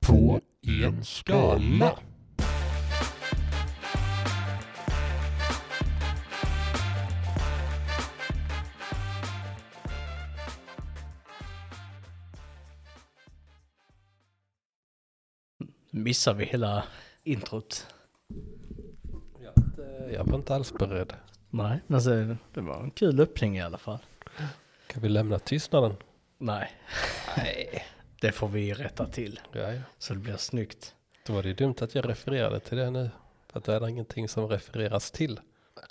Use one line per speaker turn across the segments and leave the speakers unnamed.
på en skala.
Nu missar vi hela introt.
Eh, Jag var inte alls beredd.
Nej, men så, det var en kul öppning i alla fall.
Kan vi lämna tystnaden?
Nej. Nej. Det får vi rätta till
Ja, ja.
så det blir snyggt.
Då var det ju dumt att jag refererade till det nu. För att det är ingenting som refereras till.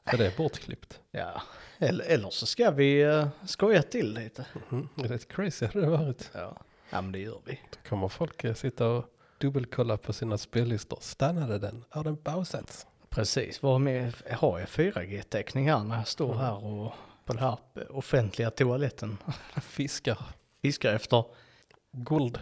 För det är bortklippt.
Ja, eller, eller så ska vi eh, skoja till lite.
Mm, det är rätt crazy hade det varit.
Ja. ja, men det gör vi.
Då kommer folk eh, sitta och dubbelkolla på sina spellistor. Stannade den? Har den pausats?
Precis, vad med, har jag 4G-täckning här när jag står här och på den här offentliga toaletten?
Fiskar.
Fiskar efter
Guld.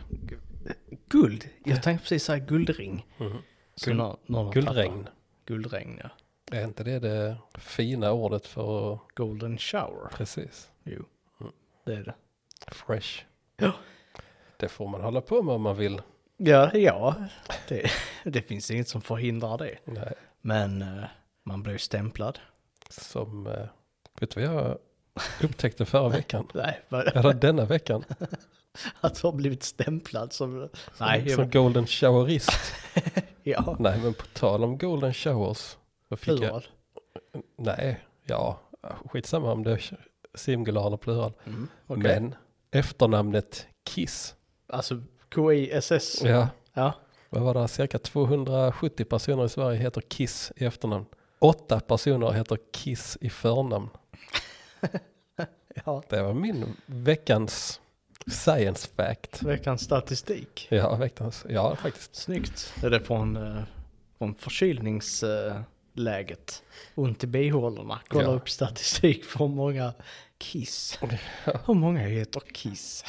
guld. Jag tänkte precis säga guldring.
Mhm.
Så
Guld-
nå- någon har
Guldregn.
tappat. Guldregn, ja.
Är inte det det fina ordet för
Golden shower.
precis?
Jo, det är det.
Fresh.
Ja.
Det får man hålla på med om man vill.
Ja, ja. Det, det finns inget som förhindrar det.
Nej.
Men eh, man blir ju stämplad.
Som, eh, vet du vad jag upptäckte förra veckan?
Nej, vad-
Eller denna veckan?
att ha blivit stämplad som... Nej,
som
jag,
golden showerist.
ja.
Nej, men på tal om golden showers. Då fick jag,
Plural.
nej, ja, skitsamma om det är singular eller plural.
Mm, okej.
Men efternamnet Kiss.
Alltså, KISS. Ja.
Ja,
ja.
vad var det? Cirka 270 personer i Sverige heter Kiss i efternamn. Åtta personer heter Kiss i förnamn.
Ja,
Det var min veckans science fact.
veckans statistik.
Ja, veckans, ja faktiskt.
Snyggt. Är det från, eh, från förkylningsläget? Ont i bihålorna. Kolla
Ja.
upp statistik för hur många Kiss. Hur många heter Kiss?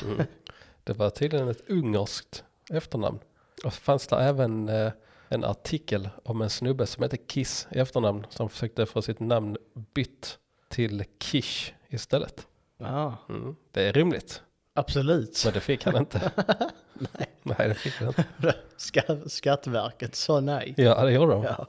Det var tydligen ett ungerskt efternamn. Och så fanns det även eh, en artikel om en snubbe som hette Kiss i efternamn som försökte få sitt namn bytt till Kish istället.
Ja,
Mm. Det är rimligt,
absolut.
men det fick han inte. nej. nej, det fick han inte.
Ska- Skatteverket sa nej.
Ja, det gjorde han.
Ja.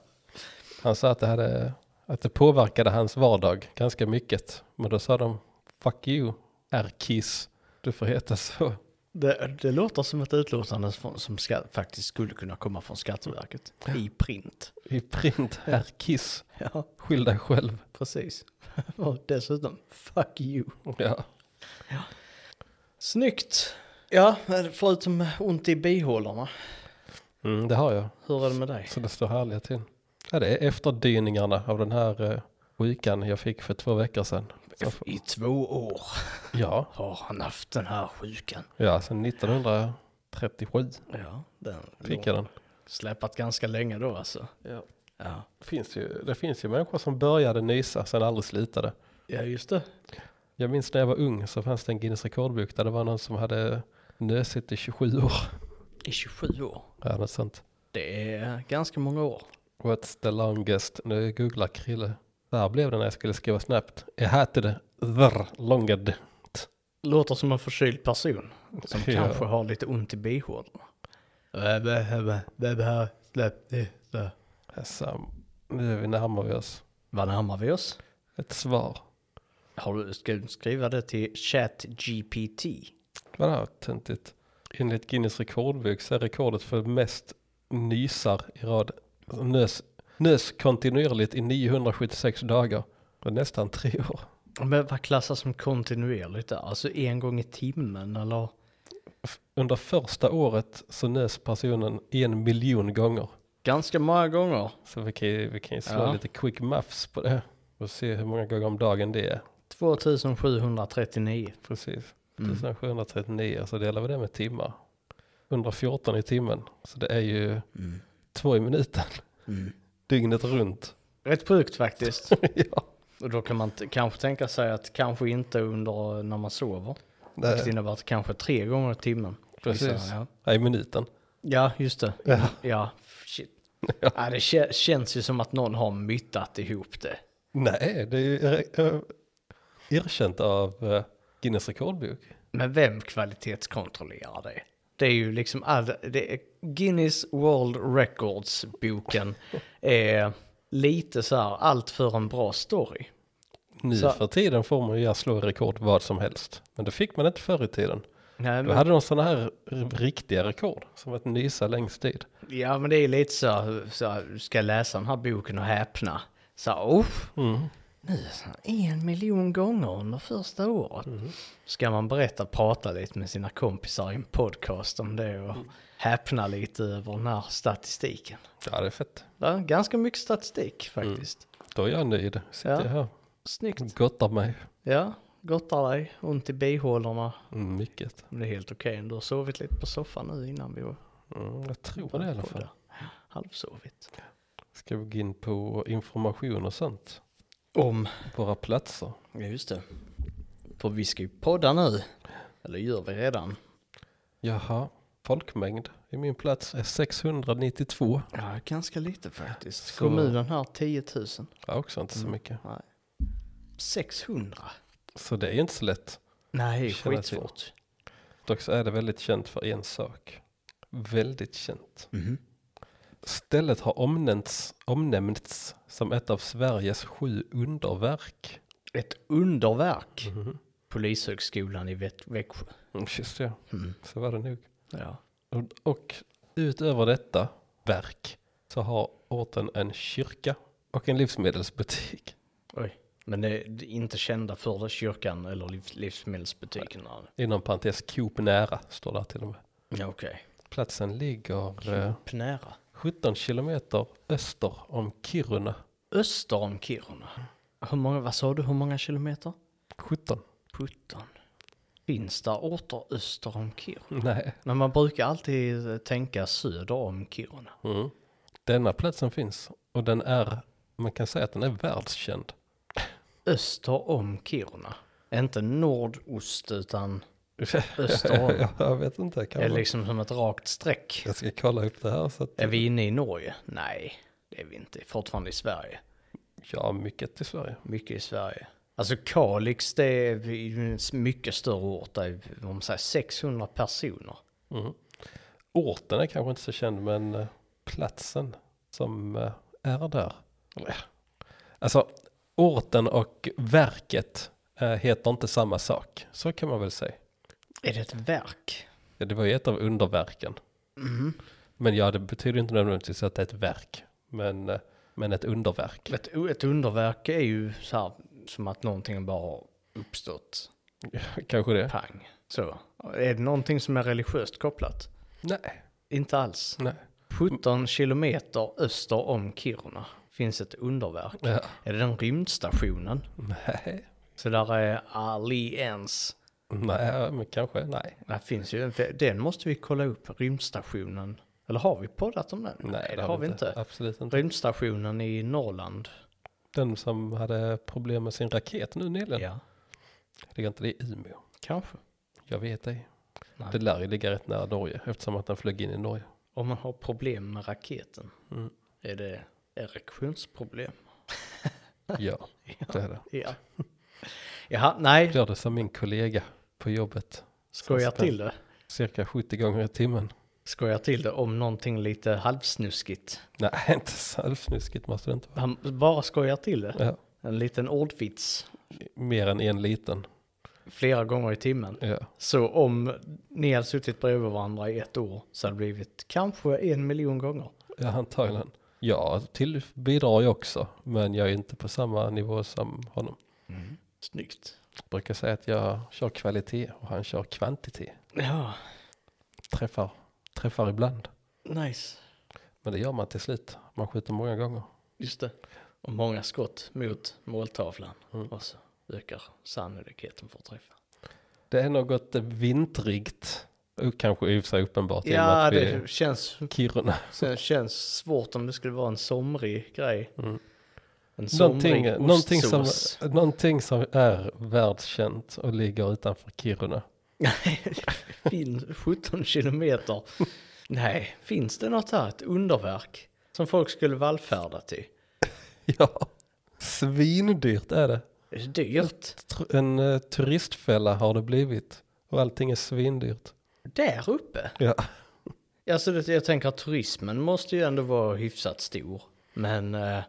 Han sa att det, hade, att det påverkade hans vardag ganska mycket. Men då sa de, fuck you, är Kiss. Du får heta så.
Det, det låter som ett utlåtande från- som ska, faktiskt skulle kunna komma från Skatteverket i print.
I print, är Kiss.
Ja,
Skyll dig själv.
precis. Och dessutom, fuck you.
Ja.
Snyggt. Ja, förutom ont i bihålorna.
Mm, det har jag.
Hur är det med dig?
Så det står härliga till. Ja, det är efterdyningarna av den här eh, sjukan jag fick för två veckor sedan. Så,
I två år
ja,
har han haft den här sjukan.
ja, sedan 1937
Ja, den
fick jag den.
släpat ganska länge då alltså.
Ja.
Ja,
Det, finns ju, det finns ju människor som började nysa sen aldrig slutade.
ja just det.
Jag minns när jag var ung så fanns det en Guinness rekordbok där det var någon som hade nösit i 27 år.
I 27 år.
Ja, något sånt.
Det är ganska många år.
What's the longest? Nu googlar Krille. Där blev det när jag skulle skriva snabbt. Jag hette det the longed.
Låter som en förkyld person som
Ja.
kanske har lite ont i bihålorna. Äh, bä, bä, bä, bä, släpp det, släpp.
Så, Alltså, nu närmar vi oss
Vad närmar vi oss?
ett svar.
Har du, ska du skriva det till ChatGPT?
Vadå töntigt? Enligt Guinness rekordbok så är rekordet för mest nysar i rad. Alltså, Nös, nös kontinuerligt i 976 dagar. Det är nästan tre år.
Men vad klassas som kontinuerligt där? Alltså en gång i timmen eller?
F- Under första året så nös personen en miljon gånger.
Ganska många gånger.
Så vi kan ju, vi kan ju slå
Ja.
lite quick maths på det. Och se hur många gånger om dagen det är.
2739.
Precis.
Mm.
1739 så delar vi det med timmar. 114 i timmen. Så det är ju
Mm.
två i minuten.
Mm.
Dygnet runt.
Rätt sjukt faktiskt.
ja.
Och då kan man t- kanske tänka sig att kanske inte under eh, när man sover. Vilket innebär att kanske tre gånger i timmen. Liksom,
Precis.
Ja.
Nej, minuten.
ja, just det.
Ja.
Ja, shit. Ja, det kä- känns ju som att någon har myttat ihop det.
Nej, det är ju er- eh, erkänt av eh, Guinness rekordbok.
Men vem kvalitetskontrollerar det? Det är ju liksom all, det är Guinness World Records-boken är lite så här allt för en bra story.
Nu
Så-
för tiden får man ju gärna slå rekord vad som helst. Men det fick man inte förr i tiden.
Nej,
Då
men,
hade de sådana här r- riktiga rekord som att nysa längst tid.
ja, men det är lite så här, så här, du ska läsa den här boken och häpna. Så här, oh,
Mm.
nu så här, en miljon gånger under första året.
Mhm.
Ska man berätta, prata lite med sina kompisar i en podcast om det och
Mm.
häpna lite över den här statistiken.
Ja, det är fett.
Det är ganska mycket statistik
Mm.
faktiskt.
Då är jag nöjd. Sitter
Ja.
jag här
Snyggt.
och gottar mig.
Ja, gottar dig, ont i bihålorna.
Mm, Mycket.
Men det är helt okej ändå. Sovit lite på soffan nu innan vi var
Mm, jag tror det i alla fall.
poddar. Halvsovit.
Ska vi gå in på information och sånt?
Om.
Våra platser.
Ja, just det. För vi ska ju podda nu. Eller gör vi redan.
Jaha, folkmängd i min plats är 692.
Ja, ganska lite faktiskt.
Så-
Kommunen här 10 000.
Ja, också inte
Mm.
så mycket.
Nej. 600.
Så det är inte så lätt.
Nej,
Känner
skitsvårt.
Dock så är det väldigt känt för en sak. Väldigt känt.
Mhm.
Stället har omnämnts, omnämnts som ett av Sveriges sju underverk.
Ett underverk. Polishögskolan i Vä- Växjö.
Mm, Just det,
Mm.
så var det nog.
Ja.
Och, och utöver detta verk så har orten en kyrka och en livsmedelsbutik.
Oj. Men det är inte kända för det, kyrkan eller liv, livsmedelsbutikerna.
Inom parentes Coop nära står där till och med.
Ja, okej.
Platsen ligger eh,
Pinära.
17 kilometer öster om Kiruna.
Öster om Kiruna. Hur många, vad sa du, hur många kilometer?
17?
17. Finns det orter öster om Kiruna?
Nej.
Men man brukar alltid eh, tänka söder om Kiruna.
Mm. Denna platsen finns och den är, man kan säga att den är världskänd.
Öster om Kiruna. Inte nordost utan öster om.
jag vet inte,
Det är
kan man.
liksom som ett rakt streck.
Jag ska kolla upp det här så att
Är vi inne i Norge? Nej, det är vi inte. Fortfarande i Sverige.
jag har mycket till Sverige.
Mycket i Sverige. Alltså Kalix, det är ju en mycket större ort. Det är vad man säger, 600 personer.
Mm. Orten är kanske inte så känd men eh, platsen som eh, är där. Eller, eh. Alltså orten och verket eh, heter inte samma sak. Så kan man väl säga.
Är det ett verk?
Ja, Det var ju ett av underverken.
Mm-hmm.
Men ja, det betyder ju inte nödvändigtvis att det är ett verk. Men, eh, men ett underverk.
Ett, ett underverk är ju så här som att någonting bara har uppstått.
Kanske det?
Pang. Så. Är det någonting som är religiöst kopplat?
Nej.
Inte alls.
Nej.
17 kilometer öster om Kiruna finns ett underverk.
Ja.
Är det den rymdstationen?
Nej.
Så där är Aliens.
Nej, men kanske nej.
Det finns ju, en- den måste vi kolla upp, rymdstationen. Eller har vi poddat om den? det har vi inte.
Absolut inte.
Rymdstationen i Norrland.
Den som hade problem med sin raket nu nyligen.
Ja,
Ligger inte det i Umeå?
kanske.
Jag vet ej.
Nej.
Det lär ju ligga rätt nära Norge eftersom att den flög in i Norge.
Om man har problem med raketen,
Mm.
är det erektionsproblem?
Ja, det är det.
Ja. Jaha, nej,
Gör det som min kollega på jobbet.
skojar
spännande.
till det.
Cirka 70 gånger i timmen.
Skojar till det om någonting lite halvsnuskigt.
Nej, inte så halvsnuskigt måste det inte vara.
Han bara skojar till det.
Ja,
En liten ordvits
mer än en liten.
flera gånger i timmen.
Ja.
Så om ni hade suttit bredvid varandra i ett år så hade det blivit kanske en miljon gånger.
Ja, antagligen. Ja, till bidrar jag också, men jag är inte på samma nivå som honom. Mm.
Snyggt.
Jag brukar säga att jag kör kvalitet och han kör kvantitet.
Ja,
Träffar, träffar ibland,
nice.
men det gör man till slut. Man skjuter många gånger.
Just det. Och många skott mot måltavlan.
Mm.
Och så ökar sannolikheten för att träffa.
Det är något eh, vintrigt, och kanske i och för sig uppenbart. i och med
Ja,
att vi är
det känns,
Kiruna.
sen känns svårt om det skulle vara en somrig grej.
Mm.
En
Någonting,
somrig
någonting, som,
ostsås.
någonting som är världskänt och ligger utanför Kiruna.
Fin- 17 kilometer. Nej, finns det något här, ett underverk som folk skulle vallfärda till?
Ja, svindyrt är det.
Det är dyrt.
Tr- En eh, turistfälla har det blivit och allting är svindyrt.
Där uppe?
Ja.
Alltså det, jag tänker att turismen måste ju ändå vara hyfsat stor. Men eh,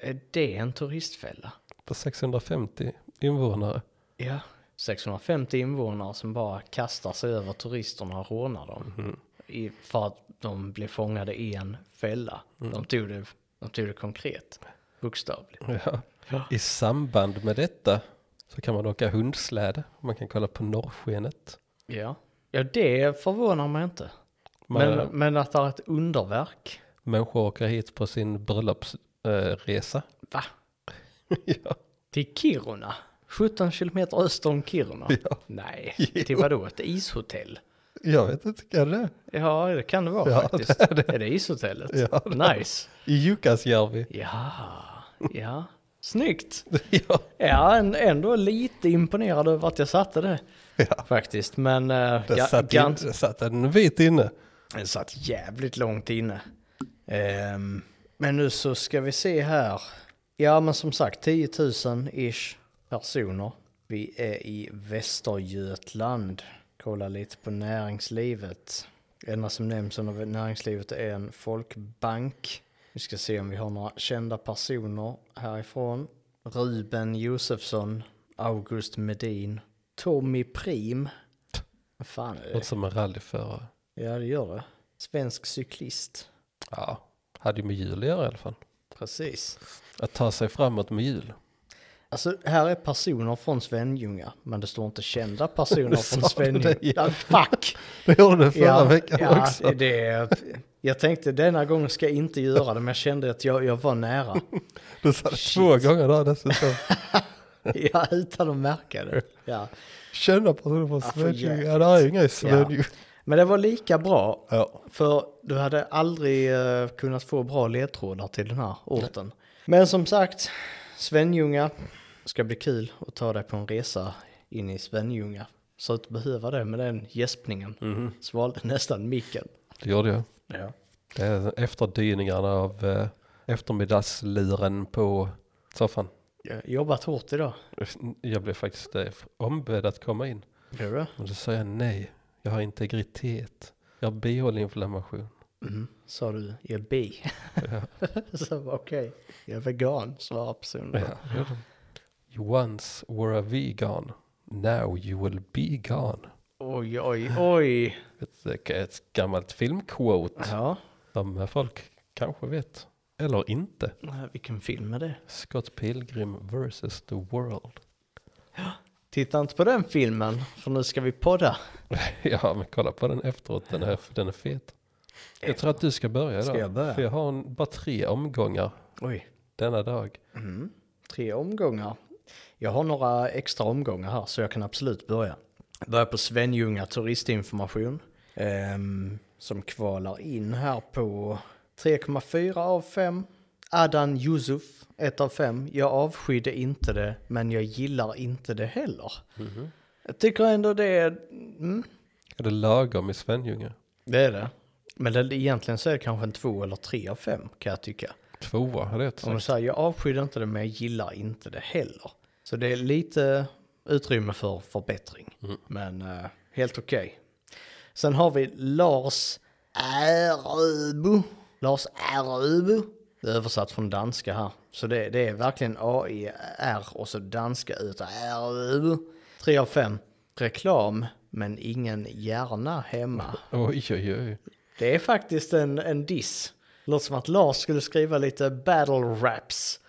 är det en turistfälla?
På 650 invånare.
Ja. 650 invånare som bara kastar sig över turisterna och rånar dem. I, för att de blev fångade i en fälla. De, tog det, de tog det konkret, bokstavligt.
Ja. I samband med detta så kan man åka hundsläde. Man kan kolla på norrskenet.
Ja. ja, det förvånar mig inte.
Man,
Men, men att det är ett underverk.
Människor åker hit på sin eh, bröllopsresa.
Va?
ja.
Till Kiruna? 17 kilometer öster om Kiruna?
Ja.
Nej,
Jo.
till vadå? Ett ishotell?
Jag vet inte, kan det?
Ja, det kan det vara
Ja,
faktiskt.
det är det.
Är det ishotellet?
Ja, det
nice.
I Jukkasjärvi.
Ja, ja. Snyggt.
ja.
Ja, en- ändå lite imponerad över att jag satte det
ja.
faktiskt. Men eh,
Det
ga-
satt, in,
gant-
det satt en bit inne.
Den satt jävligt långt inne. Ehm, men nu så ska vi se här. Ja men som sagt 10 000-ish personer. Vi är i Västergötland. Kolla lite på näringslivet. Det enda som nämns under näringslivet är en folkbank. Vi ska se om vi har några kända personer härifrån. Ruben Josefsson, August Medin, Tommy Prim. Vad fan är det?
Något som en rallyförare.
Ja, det gör det. Svensk cyklist.
Ja, hade ju med hjul att göra i alla fall.
Precis.
Att ta sig framåt med hjul.
Alltså, här är personer från Svenljunga, men det står inte kända personer
Du
från
sa det
Svenljunga.
igen.
Ah, fuck!
Det gjorde du förra veckan
ja,
också.
Det, är- jag tänkte denna gången ska jag inte göra det, men jag kände att jag, jag var nära.
Du sa det
Shit.
två gånger där dessutom.
Ja, utan att märka det. Ja.
Kända personer från
Ah, för
Svenljunga.
jävligt.
Ja, det är inga i
Ja.
Svenljunga.
Men det var lika bra,
Ja.
för du hade aldrig eh, kunnat få bra ledtrådar till den här orten. Men som sagt, Svenljunga ska bli kul att ta dig på en resa in i Svenljunga. Så att behöva det med den gäspningen.
Mhm.
Svalde nästan micken.
Det gjorde jag.
Ja.
Det är efterdyningarna av eh, eftermiddagsluren på soffan.
Jag har jobbat hårt idag.
Jag blev faktiskt eh, ombedd att komma in.
Gör du?
Men då sa jag nej. Jag har integritet. Jag har bihåleinflammation.
Mm. Sa du, jag är bi. Så var okej, jag är vegan, svarade personen. då.
Ja. You once were a vegan. Now you will be gone.
Oj, oj, oj.
Ett, ett gammalt filmquote
Ja,
som folk kanske vet. Eller inte.
vilken film är det?
Scott Pilgrim vs. The World.
Titta inte på den filmen, för nu ska vi podda.
ja, men kolla på den efteråt. Den är, den är fet. Jag tror att du ska börja idag.
Ska jag börja?
För jag har en, bara tre omgångar
Oj.
denna dag.
Mm. Tre omgångar. Jag har några extra omgångar här så jag kan absolut börja. Börja på Svenljunga turistinformation. ehm, som kvalar in här på 3,4 av 5. Adan Yusuf 1 av 5. Jag avskydde inte det men jag gillar inte det heller. Mhm. Jag tycker ändå det är... Mm,
Är det lagom i Svenljunga?
det är det. Men det, egentligen så är det kanske en 2 eller 3 av 5 kan jag tycka.
Tvåa hade jag
Om man
sagt.
säger jag avskyr inte det men jag gillar inte det heller. Så det är lite utrymme för förbättring. Men eh, helt okej. Sen har vi Lars Äröbo. Lars Äröbo. Det är översatt från danska här. Så det, det är verkligen A-E-R och så danska ut. Äröbo. Tre av fem. Reklam men ingen hjärna hemma.
Oj, oj, oj.
Det är faktiskt en, en diss. Låter som att Lars skulle skriva lite battle raps.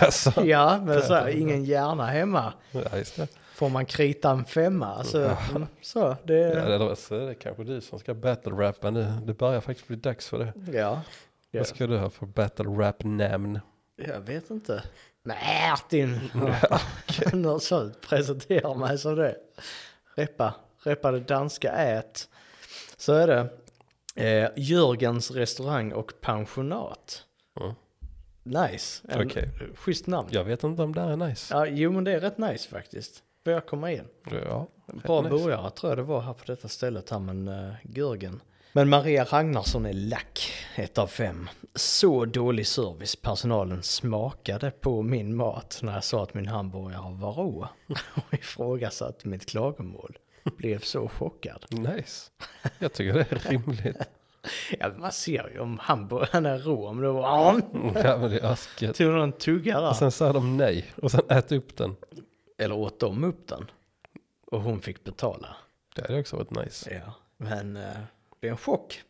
Alltså.
Ja, men så här, ingen hjärna hemma.
Ja, just det.
Får man krita en femma? Alltså, mm, så,
Ja,
det...
eller så är det kanske du som ska battle-rappa nu. Det börjar faktiskt bli dags för det.
Ja. ja.
Vad ska du ha för battle-rap-namn?
Jag vet inte. Men Ertin! Något sånt presenterar mig som det. Reppa, reppa det danska ät. Så är det. Eh, Jörgens restaurang och pensionat.
Mm.
Nice. En,
Okej.
Schysst namn.
Jag vet inte om det här är nice.
Ja, jo men det är rätt nice faktiskt. Får jag komma in?
Ja,
Bra
rätt nice.
burgare tror jag det var här på detta stället här men uh, Görgen. Men Maria Ragnarsson är lack, ett av fem. Så dålig service personalen smakade på min mat när jag sa att min hamburgare var rå och ifrågasatte mitt klagomål. blev så chockad.
Nice. Jag tycker det är rimligt.
Ja, man ser ju om hamburgaren är rå, om det var...
Mm, Ja, men det är asket.
Tog någon tugga där.
Och sen sa de nej och sen ät upp den.
Eller åt de upp den. Och hon fick betala.
Det hade också varit nice.
Ja. Men eh, det är en chock.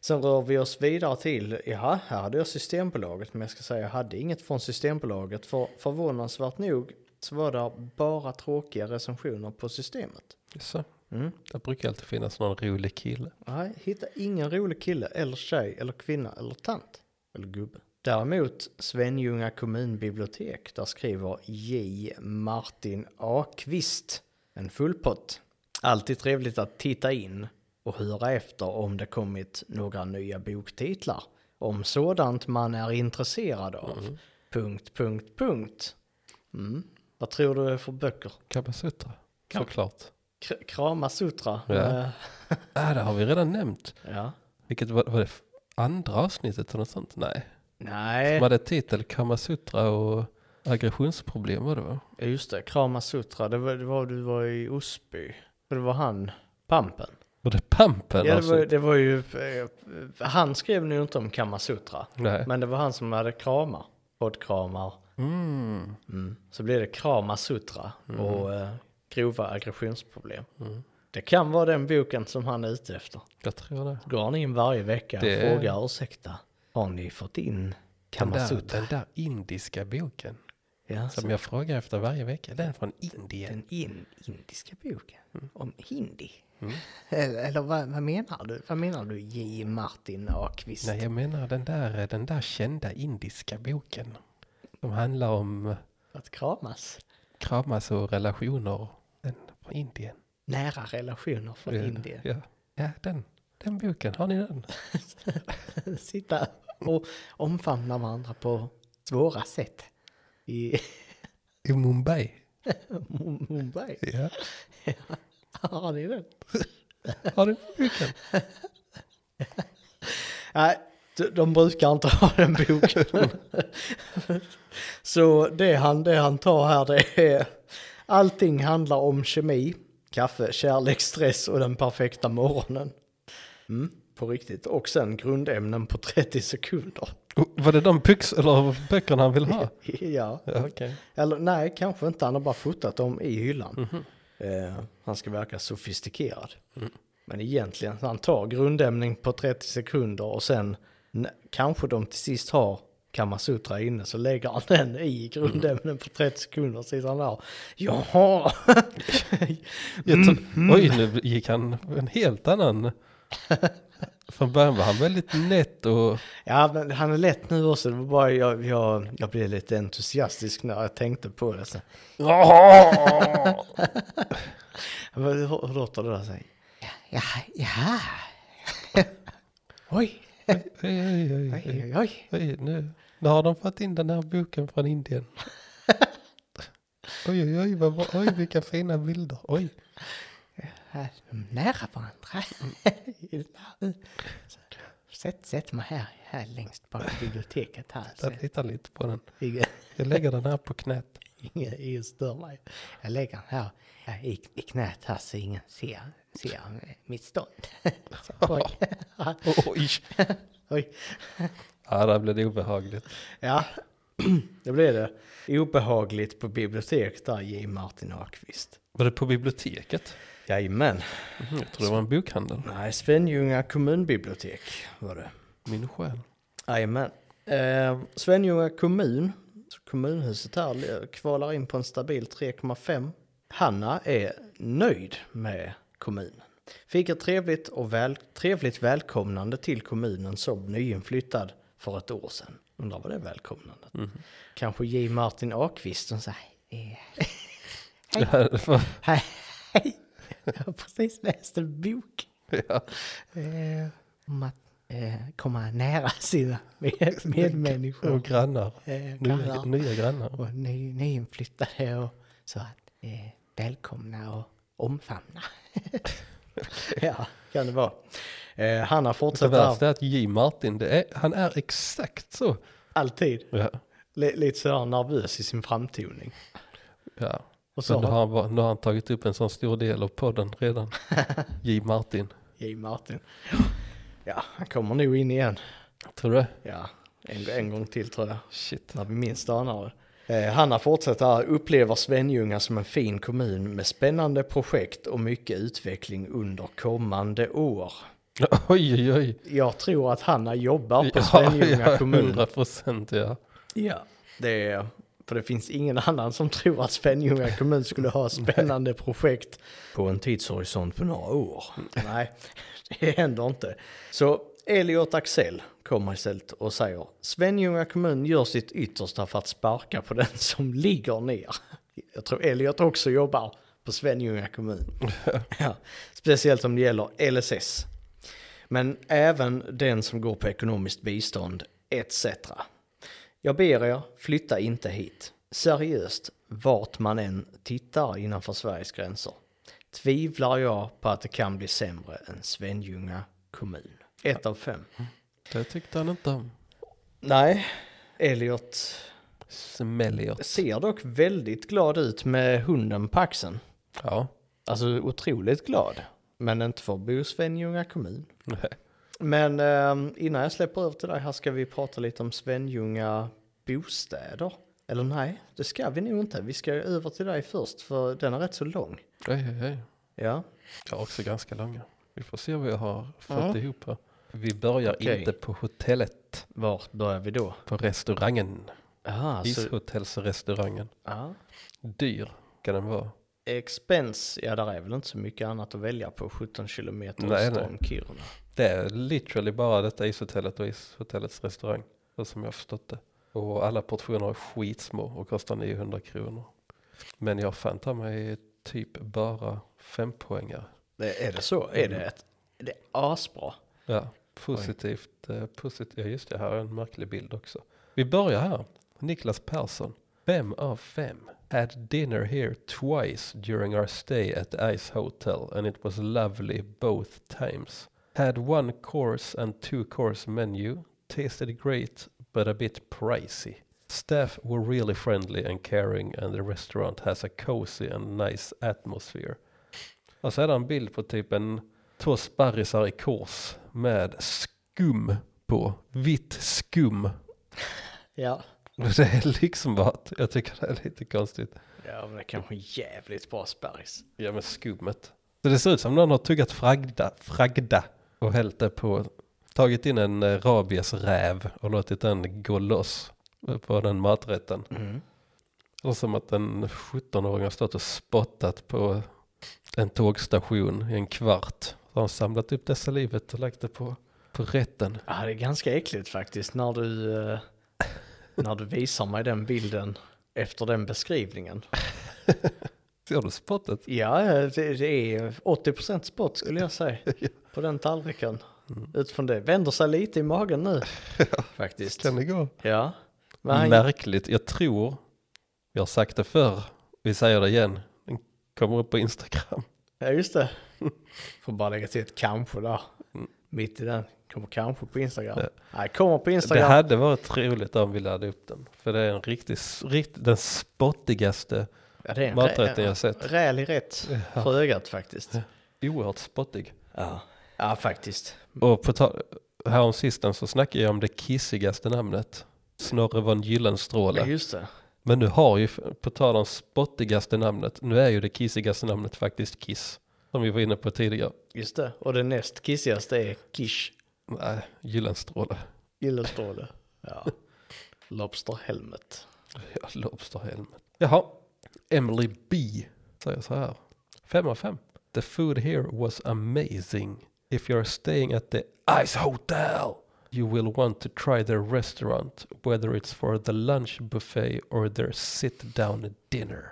Sen rör vi oss vidare till, ja, här hade jag Systembolaget, men jag ska säga jag hade inget från Systembolaget. För förvånansvärt nog så var det bara tråkiga recensioner på systemet.
Så,
Mm.
där brukar alltid finnas någon rolig kille.
Nej, hitta ingen rolig kille eller tjej eller kvinna eller tant. Eller gubbe. Däremot Svenljunga kommunbibliotek, där skriver J. Martin Akvist. En fullpott. Alltid trevligt att titta in och höra efter om det kommit några nya boktitlar. Om sådant man är intresserad av.
Mm.
Punkt, punkt, punkt. Mm. Vad tror du det är för böcker?
Kabasutra,
Kab-
såklart.
K- Krama Sutra?
Ja.
Eh,
Ah, det har vi redan nämnt.
ja.
Vilket var, var det f- andra avsnittet eller något sånt? Nej.
Nej.
De hade titel Kamasutra och aggressionsproblem var det va?
Ja just det, Krama Sutra, det var, det var du var i Osby. Och det var han, Pampen.
Var det Pampen? alltså?
Ja, det var,
avsnitt?
det var ju, eh, han skrev nu inte om Kama Sutra.
Nej.
Men det var han som hade kramar, poddkramar.
Mm.
Mm. Så blev det Krama Sutra och eh, grova aggressionsproblem.
Mm.
Det kan vara den boken som han är ute efter.
Jag tror det.
Går han in varje vecka och
Det-
frågar ursäkta, har ni fått in
Den
Kama
där,
Sutra?
den där indiska boken
Ja, så-
som jag frågar efter varje vecka. Den är från Indien.
Den in, indiska boken
Mm.
om hindi. Eller, eller vad, vad menar du? Vad menar du J. Martin Ahlqvist?
Nej, jag menar den där, den där kända indiska boken. Som handlar om eh,
Att kramas?
kramas och relationer. Den från Indien.
Nära relationer från Indien.
Ja, ja den, den boken. Har ni den?
Sitta och omfamna varandra på svåra sätt. I
I Mumbai.
Mumbai.
Ja.
Har ni det?
Har ni den boken?
Nej, de- de brukar inte ha den boken. Så det han, det han tar här det är allting handlar om kemi, kaffe, kärlek, stress och den perfekta morgonen. Mm, på riktigt. Och sen grundämnen på 30 sekunder.
Oh, Var det de byx eller böckerna han vill ha?
ja,
Ja, Okej.
eller nej, kanske inte. Han har bara fotat dem i hyllan. Eh, han ska verka sofistikerad. Men egentligen, han tar grundämning på 30 sekunder och sen n- kanske de till sist har Kamasutra inne så lägger han den i grundämnen på 30 sekunder och sitter han där. Jaha!
Jag tror- Oj, nu gick han en helt annan. Från början var han väldigt nätt och
ja, men han är lätt nu också. Det var bara jag, jag, jag blev lite entusiastisk när jag tänkte på det. Så, Vad- hur, hur låter det där? Så, ja, ja. Oj!
oj, oj, oj, oj.
Oj, oj, oj.
oj nu. nu har de fått in den här boken från Indien. Oj, oj, oj, vad bra. oj, vilka fina bilder. Oj,
Här, nära varandra. Sätt, sätt mig här, här längst bak i biblioteket här. Så
jag tittar lite på den.
ingen,
Jag lägger den här på knät.
ingen, ingen stör mig. Jag lägger den här här i, i knät här så ingen ser, ser mitt stånd. Så, Oj.
Oj,
Oj.
ja, där blev det obehagligt.
Ja, det blev det. Obehagligt på biblioteket där, J. Martin Ahlqvist.
Var det på biblioteket?
Jajamän.
Mm, jag tror det var en bokhandel.
Nej, Svenljunga kommunbibliotek var det.
Min själ.
Jajamän. Eh, Svenljunga kommun, så kommunhuset här, le- kvalar in på en stabil 3,5. Hanna är nöjd med kommunen. Fick ett trevligt och väl, trevligt välkomnande till kommunen som nyinflyttad för ett år sedan. Undrar vad det välkomnandet? Kanske J. Martin Ahlqvist som säger eh,
Ja, det var-
hej, hej, jag har precis läst en bok
ja.
eh, om att eh, komma nära sina med, medmänniskor.
Och grannar.
Eh,
Nya,
kallar
nya grannar.
och ny, nyinflyttade och så att eh, välkomna och omfamna. ja, kan det vara. Eh, Hanna
Det
fortsätter här,
värsta är att J. Martin, det är, han är exakt så.
alltid
Ja.
li, lite sådär nervös i sin framtoning.
ja.
Och så
Men nu har,
har
han, bara- nu har han tagit upp en sån stor del av podden redan. J. Martin.
J. Martin. Ja, han kommer nog in igen.
Tror du det?
Ja, en, en gång till tror jag.
Shit.
När vi minst anar det. Eh, Hanna fortsätter här, upplever Svenljunga som en fin kommun med spännande projekt och mycket utveckling under kommande år.
Oj, oj, oj.
Jag tror att Hanna jobbar på
Ja,
Svenljunga
ja,
kommun.
100 procent ja.
Ja, det är, för det finns ingen annan som tror att Svenljunga kommun skulle ha spännande projekt på en tidshorisont på några år. Nej, det händer inte. Så Elliot Axell kommer istället och säger Svenljunga kommun gör sitt yttersta för att sparka på den som ligger ner. Jag tror Elliot också jobbar på Svenljunga kommun. Ja, speciellt om det gäller LSS. Men även den som går på ekonomiskt bistånd etc. Jag ber er, flytta inte hit. Seriöst, vart man än tittar innanför Sveriges gränser tvivlar jag på att det kan bli sämre än Svenljunga kommun. Ett av fem.
Det tyckte han inte om.
Nej, Elliot
Smelliot.
ser dock väldigt glad ut med hunden på axeln.
Ja.
Alltså otroligt glad. Men inte för att bo i Svenljunga kommun.
Nej.
Men eh, innan jag släpper över till dig här ska vi prata lite om Svenljunga bostäder. Eller nej, det ska vi nog inte. Vi ska över till dig först för den är rätt så lång.
Oj, oj, oj.
Ja,
Jag har också ganska långa. Vi får se vad jag har fått
Ja.
ihop här. Vi börjar
Okej.
inte på hotellet.
var börjar vi då?
På restaurangen.
Aha,
Alltså-
så,
Ishotellsrestaurangen.
ja.
Dyr kan den vara.
Expense, ja där är väl inte så mycket annat att välja på 17 kilometer
Nej,
öster
nej.
om Kiruna.
Det är literally bara detta ishotellet och ishotellets restaurang. Så som jag har förstått det. Och alla portioner är skitsmå och kostar 900 kronor. Men jag har fan ta mig typ bara fem poängar.
Det, är det så? Är det ett? Det är asbra.
Ja, positivt. Eh, posit- ja, just det, här är en märklig bild också. Vi börjar här. Niklas Persson, fem av fem. Had dinner here twice during our stay at the Ice Hotel and it was lovely both times. Had one course and two course menu. Tasted great but a bit pricey. Staff were really friendly and caring and the restaurant has a cozy and nice atmosphere. Och så är det en bild på typ en två sparrisar i kors med skum på. Vitt skum.
Ja.
Det är liksom bara att jag tycker det är lite konstigt.
ja, men det är kanske en jävligt bra sparris.
Ja men skummet. Så det ser ut som någon har tuggat fragda, fragda och hällt det på. Tagit in en eh, rabiesräv och låtit den gå loss på den maträtten.
Mm.
Eller som att en 17-åring har stått och spottat på en tågstation i en kvart. Så har han samlat upp det salivet och lagt det på, på rätten.
Ja, det är ganska äckligt faktiskt när du, eh, när du visar mig den bilden efter den beskrivningen.
Ser du spottet?
Ja, det, det är 80% spott skulle jag säga på den tallriken. Utifrån det vänder sig lite i magen nu faktiskt.
Kan det gå?
Ja, men han,
Märkligt. Jag tror, vi har sagt det förr, vi säger det igen. Den kommer upp på Instagram.
ja just det. Får bara lägga till ett kanske där.
Mm.
Mitt i den. Kommer kanske på Instagram. Nej, kommer på
Det
Instagram.
hade varit roligt om vi laddade upp den. För det är en riktig, riktigt, den spottigaste,
ja, det är en
maträtten
rä-
jag sett.
Räl i rätt för ögat faktiskt.
oerhört spottig.
Ja, ja faktiskt.
Och på tal, häromsistens så snackade jag om det kissigaste namnet. Snorre von
Ja,
Gyllenstråle.
just det.
Men nu har ju, på tal om spottigaste namnet, nu är ju det kissigaste namnet faktiskt Kiss. Som vi var inne på tidigare.
Just det, och det näst kissigaste är Kish
Nej, Gyllenstråle.
Gillestråle. Ja. Lobsterhelmet.
Ja, Lobsterhelmen. Jaha, Emily B säger så här. 5 av 5. The food here was amazing. If you're staying at the Ice Hotel you will want to try their restaurant whether it's for the lunch buffet or their sit down dinner.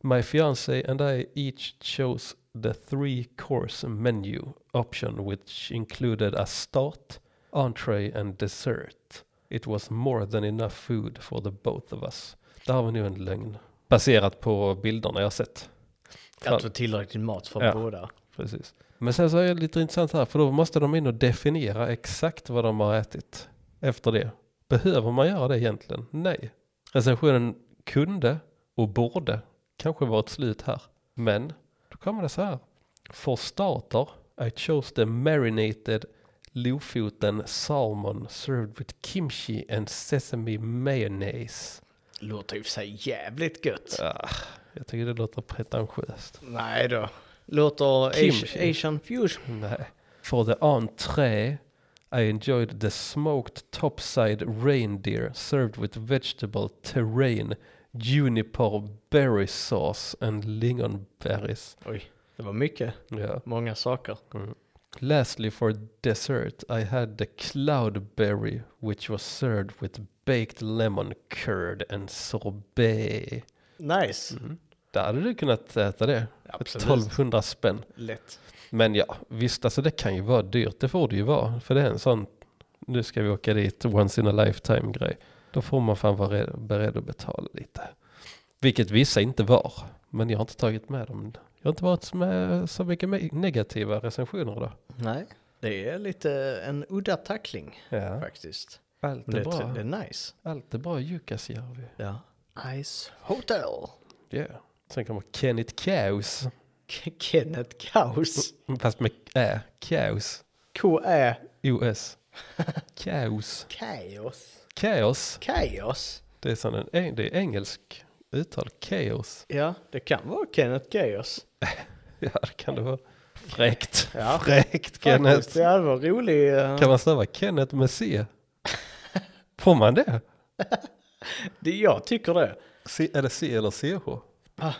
My fiance and I each chose the three course menu option, which included a start, entree, and dessert. It was more than enough food for the both of us. Där har vi nu en lögn. Baserat på bilderna jag har sett. Fan.
Att få tillräckligt mat för
Ja.
båda.
Precis. Men sen så är det lite intressant här, för då måste de in och definiera exakt vad de har ätit efter det. Behöver man göra det egentligen? Nej. Recensionen kunde och borde kanske var ett slut här. Men då kommer det så här. For starter, I chose the marinated lofoten salmon served with kimchi and sesame mayonnaise.
Låter ju för sig jävligt gött.
Ah, jag tycker det låter pretentiöst.
Nej då. Låter
Kimchi.
Asian, Asian fusion.
Nej. For the entrée, I enjoyed the smoked topside reindeer served with vegetable terrain, juniper berry sauce and lingonberries.
Oj, det var mycket.
Ja.
Många saker.
Lastly, for dessert, I had the cloudberry, which was served with baked lemon curd and sorbet. Mm.
Nice.
Där hade du kunnat äta det. för
Absolut.
1200 spänn.
Lätt.
Men ja, visst alltså det kan ju vara dyrt, det får det ju vara. För det är en sån, nu ska vi åka dit, once in a lifetime grej. Då får man fan vara red- beredd att betala lite. Vilket vissa inte var, men jag har inte tagit med dem. Jag har inte varit med så mycket me- negativa recensioner då.
Nej. Det är lite en udda tackling
Ja.
faktiskt.
Allt
Men
är
det, är tr-
bra.
det är nice.
Allt är bra i Jukkasjärvi.
Ja. Ice Hotel.
Yeah. Sen kommer Kenneth Kaos.
K- Kenneth Kaos.
Fast med ä. Kaos.
K-E.
O-S. Kaos.
Kaos.
Kaos.
Kaos.
Det är, sån en, eng- det är engelsk uttal. Kaos.
Ja, det kan vara Kenneth Kaos.
Ja, det kan det vara. Fräckt.
Ja.
Fräckt
Faktiskt,
Kenneth.
det var rolig. eh,
Kan man stava Kenneth med C? Får man det?
Det, jag tycker det.
C, eller C eller CH?
Ah.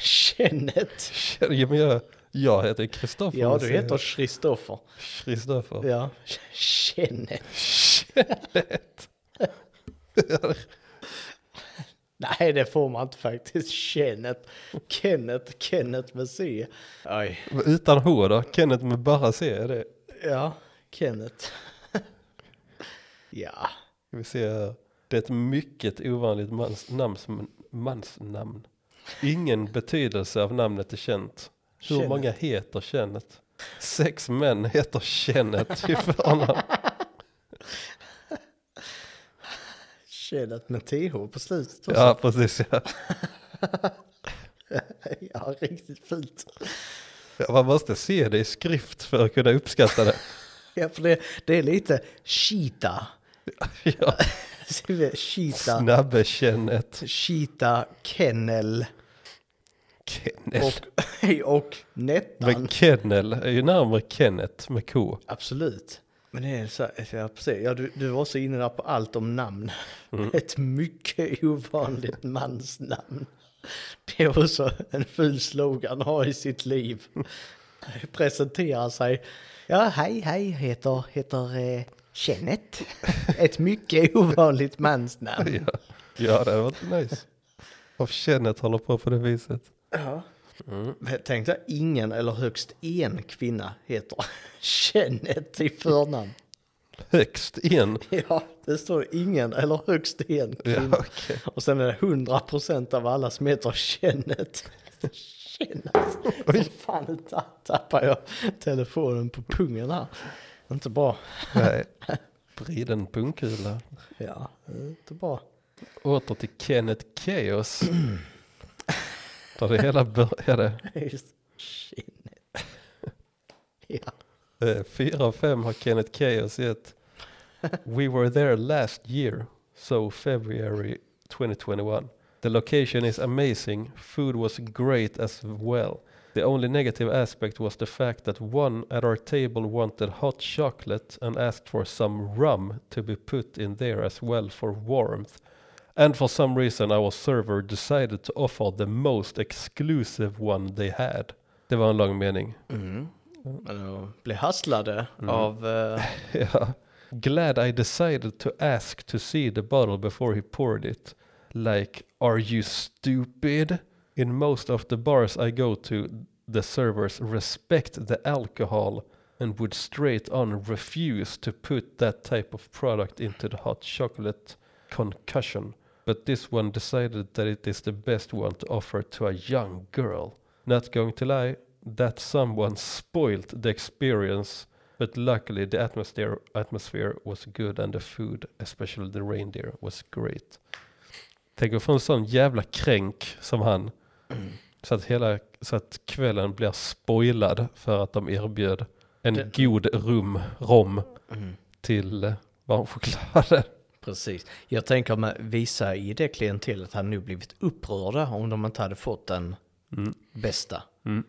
Kenneth.
Ja, men jag, jag heter Kristoffer.
Ja,
med
du
C.
heter Kristoffer.
Kristoffer.
Ja. Kenneth.
Kenneth.
Nej, det får man inte faktiskt. Kenneth. Kenneth. Kenneth med C. Oj.
Utan H då? Kenneth med bara C? Är det?
Ja, Kenneth. ja.
Ska vi se här. Det är ett mycket ovanligt mans, namns, mansnamn. Ingen betydelse av namnet är känt. Hur
Kenneth.
många heter Kenneth? Sex män heter Kenneth i förnamn.
Kenneth med TH på slutet också.
Ja, precis. Ja.
ja, riktigt fint.
Ja, Man måste se det i skrift för att kunna uppskatta det.
Ja, för det, det är lite Cheetah.
Ja.
Cheetah.
Snabbe Kenneth.
Cheetah, Kennel
Kennel.
och, och Nettan.
Men Kennel är ju närmare Kenneth med K.
Absolut. Men det är så, ja, precis. Ja, du, du var så inne där på allt om namn. Ett mycket ovanligt mansnamn. Det är också en ful slogan att ha i sitt liv. Presentera sig. Ja, hej, hej, heter, heter eh, Kenneth. Ett mycket ovanligt mansnamn.
Ja, ja det hade varit nice. Och Kenneth håller på på det viset.
Ja. Men Tänk dig, ingen eller högst en kvinna heter Kenneth i förnamn.
Högst en.
Ja, det står ingen eller högst en
Ja,
kvinna.
okej.
Och sen är det 100% av alla som heter Kenneth. Kenneth. Oj. Fan, nu ta- tappar jag telefonen på pungen här. Inte bra.
Nej. Vriden pungkula.
Ja, inte bra.
Åter till Kenneth Chaos. Där det hela började.
Just Kenneth. Ja.
Eh, Fyra av fem har Kenneth Chaos gett. We were there last year, so February 2021. The location is amazing. Food was great as well. The only negative aspect was the fact that one at our table wanted hot chocolate and asked for some rum to be put in there as well for warmth. And for some reason our server decided to offer the most exclusive one they had. Det var en lång mening.
Men att bli hasslade av... eh,
Yeah. Glad I decided to ask to see the bottle before he poured it. Like, are you stupid? In most of the bars I go to, the servers respect the alcohol and would straight on refuse to put that type of product into the hot chocolate concussion. But this one decided that it is the best one to offer to a young girl. Not going to lie, that someone spoilt the experience but luckily the atmosphere atmosphere was good and the food, especially the reindeer, was great. Tänk att få en sån jävla kränk som han Så att, hela, så att kvällen blir spoilad för att de erbjöd en
Det-
god rum, rom
Mm.
till eh, varmchokladen.
Precis. Jag tänker med vissa i det klientelet hade nog blivit upprörda om de inte hade fått den
Mm.
bästa
Mm.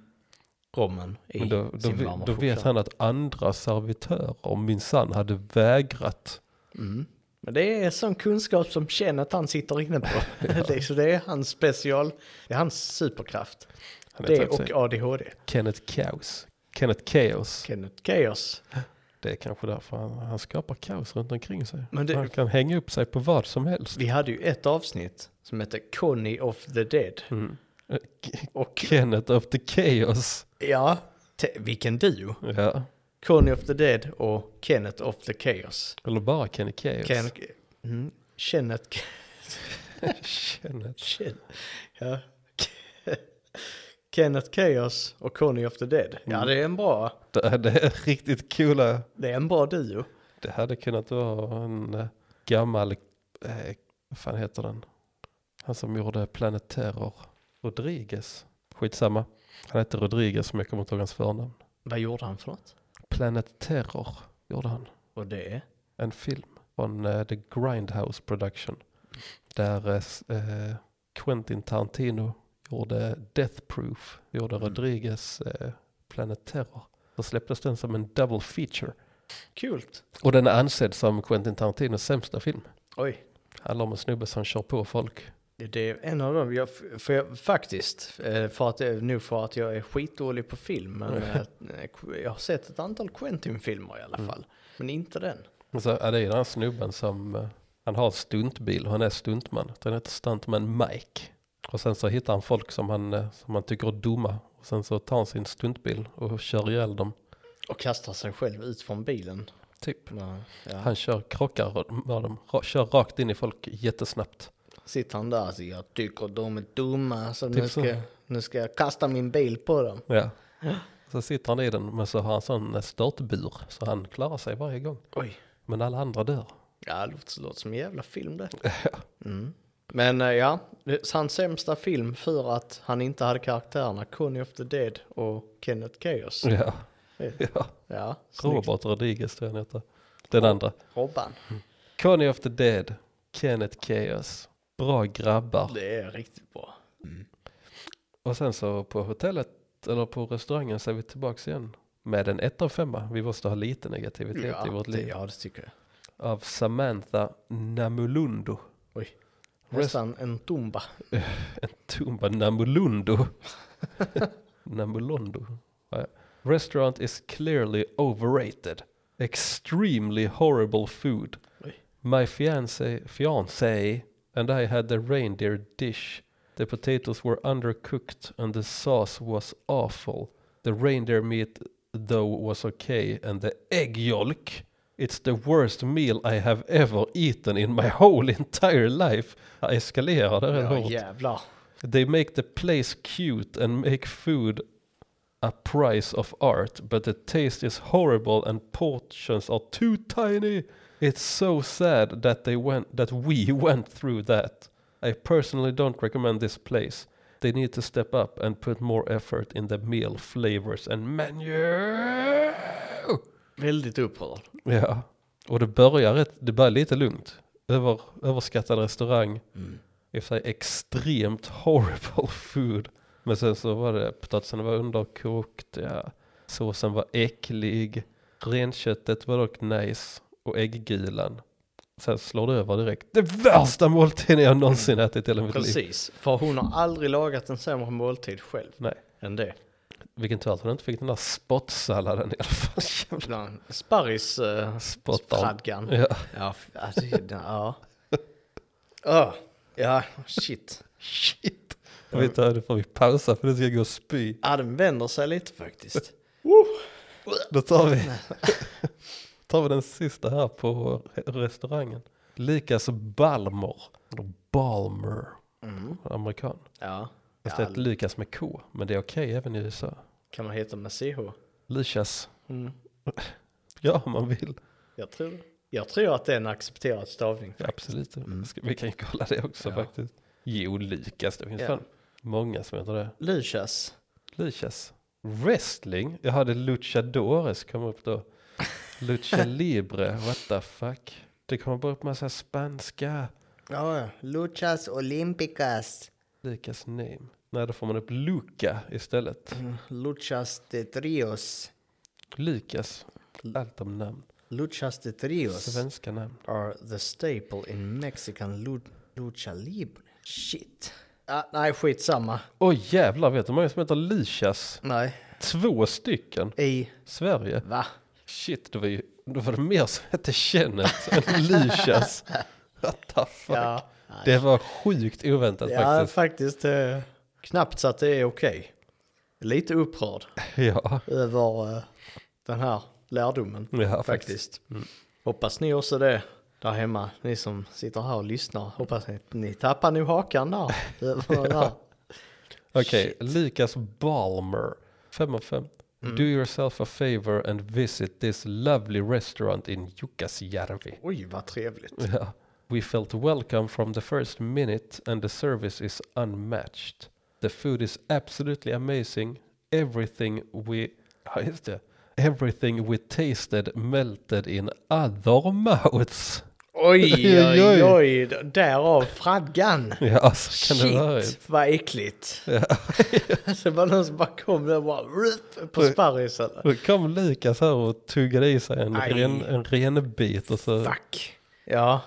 rommen i
Men då, då,
sin
ve-
varma
då vet
choklad.
han att andra servitörer minsann hade vägrat.
Mm. Men det är sån kunskap som känner att han sitter inne på. det, är- så det är hans special, det är hans superkraft.
Han
det
heter också
och ADHD.
Kenneth Chaos. Kenneth Chaos.
Kenneth Chaos.
Det är kanske därför han, han skapar kaos runt omkring sig.
Men det-
Han kan hänga upp sig på vad som helst.
Vi hade ju ett avsnitt som hette Conny of the Dead.
Mm. Eh, K-
Och
Kenneth of the Chaos.
ja, te- vilken duo.
Ja.
Conny of the Dead och Kenneth of the Chaos.
Eller bara Kenneth Chaos.
Ken, mm, Kenneth,
Kenneth.
Ken, ja. Kenneth Chaos och Conny of the Dead. Ja, det är en bra,
Det är, det är riktigt coola.
det är en bra duo.
Det hade kunnat vara en eh, gammal, eh, vad fan heter den? Han som gjorde Planet Terror. Rodriguez. Skitsamma. Han hette Rodriguez men jag kommer inte ihåg hans förnamn.
Vad gjorde han för något?
Planet Terror gjorde han.
Och det är?
En film från eh, The Grindhouse Production. Där eh, s- eh, Quentin Tarantino gjorde Death Proof. Gjorde
Mm.
Rodriguez eh, Planet Terror. Då släpptes den som en double feature.
Kul.
Och den är ansedd som Quentin Tarantinos sämsta film.
Oj,
Handlar om en snubbe som kör på folk.
det- det är en av dem. Jag, för jag, faktiskt, eh, för att, eh, nog för att jag är skitdålig på film, men eh, jag har sett ett antal Quentin-filmer i alla fall. Men inte den.
Och så är det ju den här snubben som, eh, han har en stuntbil och han är stuntman. Den heter stuntman Mike. Och sen så hittar han folk som han, eh, som han tycker är dumma. Och sen så tar han sin stuntbil och kör ihjäl dem.
Och kastar sig själv ut från bilen.
Typ.
Ja.
Han kör krockar med dem, ra- kör rakt in i folk jättesnabbt.
Sitter han där och säger jag tycker de är dumma så nu
Typ så.
ska, nu ska jag kasta min bil på dem.
Ja. Så sitter han i den, men så har han sån eh, störtbur. Så han klarar sig varje gång.
Oj.
Men alla andra dör.
Ja, det låter, låter som en jävla film det. Mm. Men eh, ja, det- hans sämsta film för att han inte hade karaktärerna Conny of the Dead och Kenneth Chaos.
Ja.
Eh,
ja.
Ja, snyggt.
Robert Rodriguez tror jag han heter. Den andra.
Robban.
Conny of the Dead, Kenneth Chaos. Bra grabbar.
Det är riktigt bra.
Och sen så på hotellet, eller på restaurangen så är vi tillbaks igen. Med en 1 av 5. Vi måste ha lite negativitet i
Ja,
vårt
det,
liv.
ja, det tycker jag.
Av Samantha Namulundo.
Oj.
Rest-
Nästan en tumba.
Tumba Namulundo. Namulondo. Ja, ja. Restaurant is clearly overrated. Extremely horrible food.
Oj.
My fiance, fiance and I had the reindeer dish. The potatoes were undercooked and the sauce was awful. The reindeer meat though was okay and the egg yolk. It's the worst meal I have ever eaten in my whole entire life. Jag eskalerade rätt
Ja,
hårt.
jävlar.
They make the place cute and make food a price of art, but the taste is horrible and portions are too tiny. It's so sad that they went that we went through that. I personally don't recommend this place. They need to step up and put more effort in the meal flavors and menu.
Väldigt upprörd.
Ja, och det börjar, rätt, det börjar lite lugnt. Över, överskattad restaurang.
Mm.
I och för sig extremt horrible food. Men sen så var det, potatisen var underkokt, ja. såsen var äcklig, renköttet var dock nice och ägggulan. Sen slår det över direkt. Det värsta måltiden jag någonsin ätit i hela mitt liv.
Precis, för hon har aldrig lagat en sämre måltid själv
Nej,
än det.
vilken tur att hon inte fick den där spottsalladen i alla fall.
Bland Sparris uh,
Spottan.
stradgan.
Ja,
Ja, f- alltså, ja. Åh, ja, shit.
shit. Jag vet inte, nu får vi pausa för det ska gå och spy.
Ja, den vänder sig lite faktiskt.
Då tar vi, tar vi den sista här på restaurangen. Likas Balmer, eller Balmer,
Mm.
amerikan.
Ja,
Fast det är
Ja.
ett Lukas med K, men det är okej även i USA.
kan man heta med CH?
Lukas,
Mm.
ja om man vill.
Jag tror Jag tror att det är en accepterad stavning.
Absolut, Ska- vi kan ju kolla det också
Mm. Ja.
faktiskt. Jo, Lukas, det finns
Ja.
fan. Många som heter det.
Lucius.
Luchas. Wrestling? Jag hade luchadores kom upp då. Lucha libre, what the fuck. Det kommer bara upp massa spanska.
Ja, Luchas Olympicas.
Lucas name. Nej, då får man upp Luca istället.
Mm, Luchas de Trios.
Lukas. Allt om namn.
Luchas de Trios
Svenska namn.
are the staple in Mexican lu- lucha libre. Shit. Ah, nej, skitsamma.
Oj jävlar, vet du hur många som heter Luchas?
Nej.
Två stycken.
I...
Sverige.
Va?
Shit, det var ju det var det mer som hette Kenneth än Luchas. What the fuck.
Ja.
Det var sjukt oväntat
Ja,
faktiskt.
faktiskt. eh, knappt så att det är okej. Lite upprörd
Ja,
över eh, den här lärdomen.
ja faktiskt.
faktiskt. Mm. Hoppas ni också det där hemma, ni som sitter här och lyssnar. Hoppas ni, ni tappar nu hakan där. över den här.
Okej, Lucas Balmer. 5 av 5.
Mm.
Do yourself a favor and visit this lovely restaurant in Jukkasjärvi.
Oj, vad trevligt.
Ja. We felt welcome from the first minute and the service is unmatched. The food is absolutely amazing. Everything we... Ja, just det. Everything we tasted melted in other mouths.
Oj,
Oj,
oj,
oj.
oj, därav fraggan.
Ja, så kan det vara. ju.
Shit, vad äckligt. det var någon som bara kom där och bara rup, på sparrisen.
Då kom Lukas här och tuggade i sig en,
Aj.
ren, en ren bit och så...
Fuck. Ja,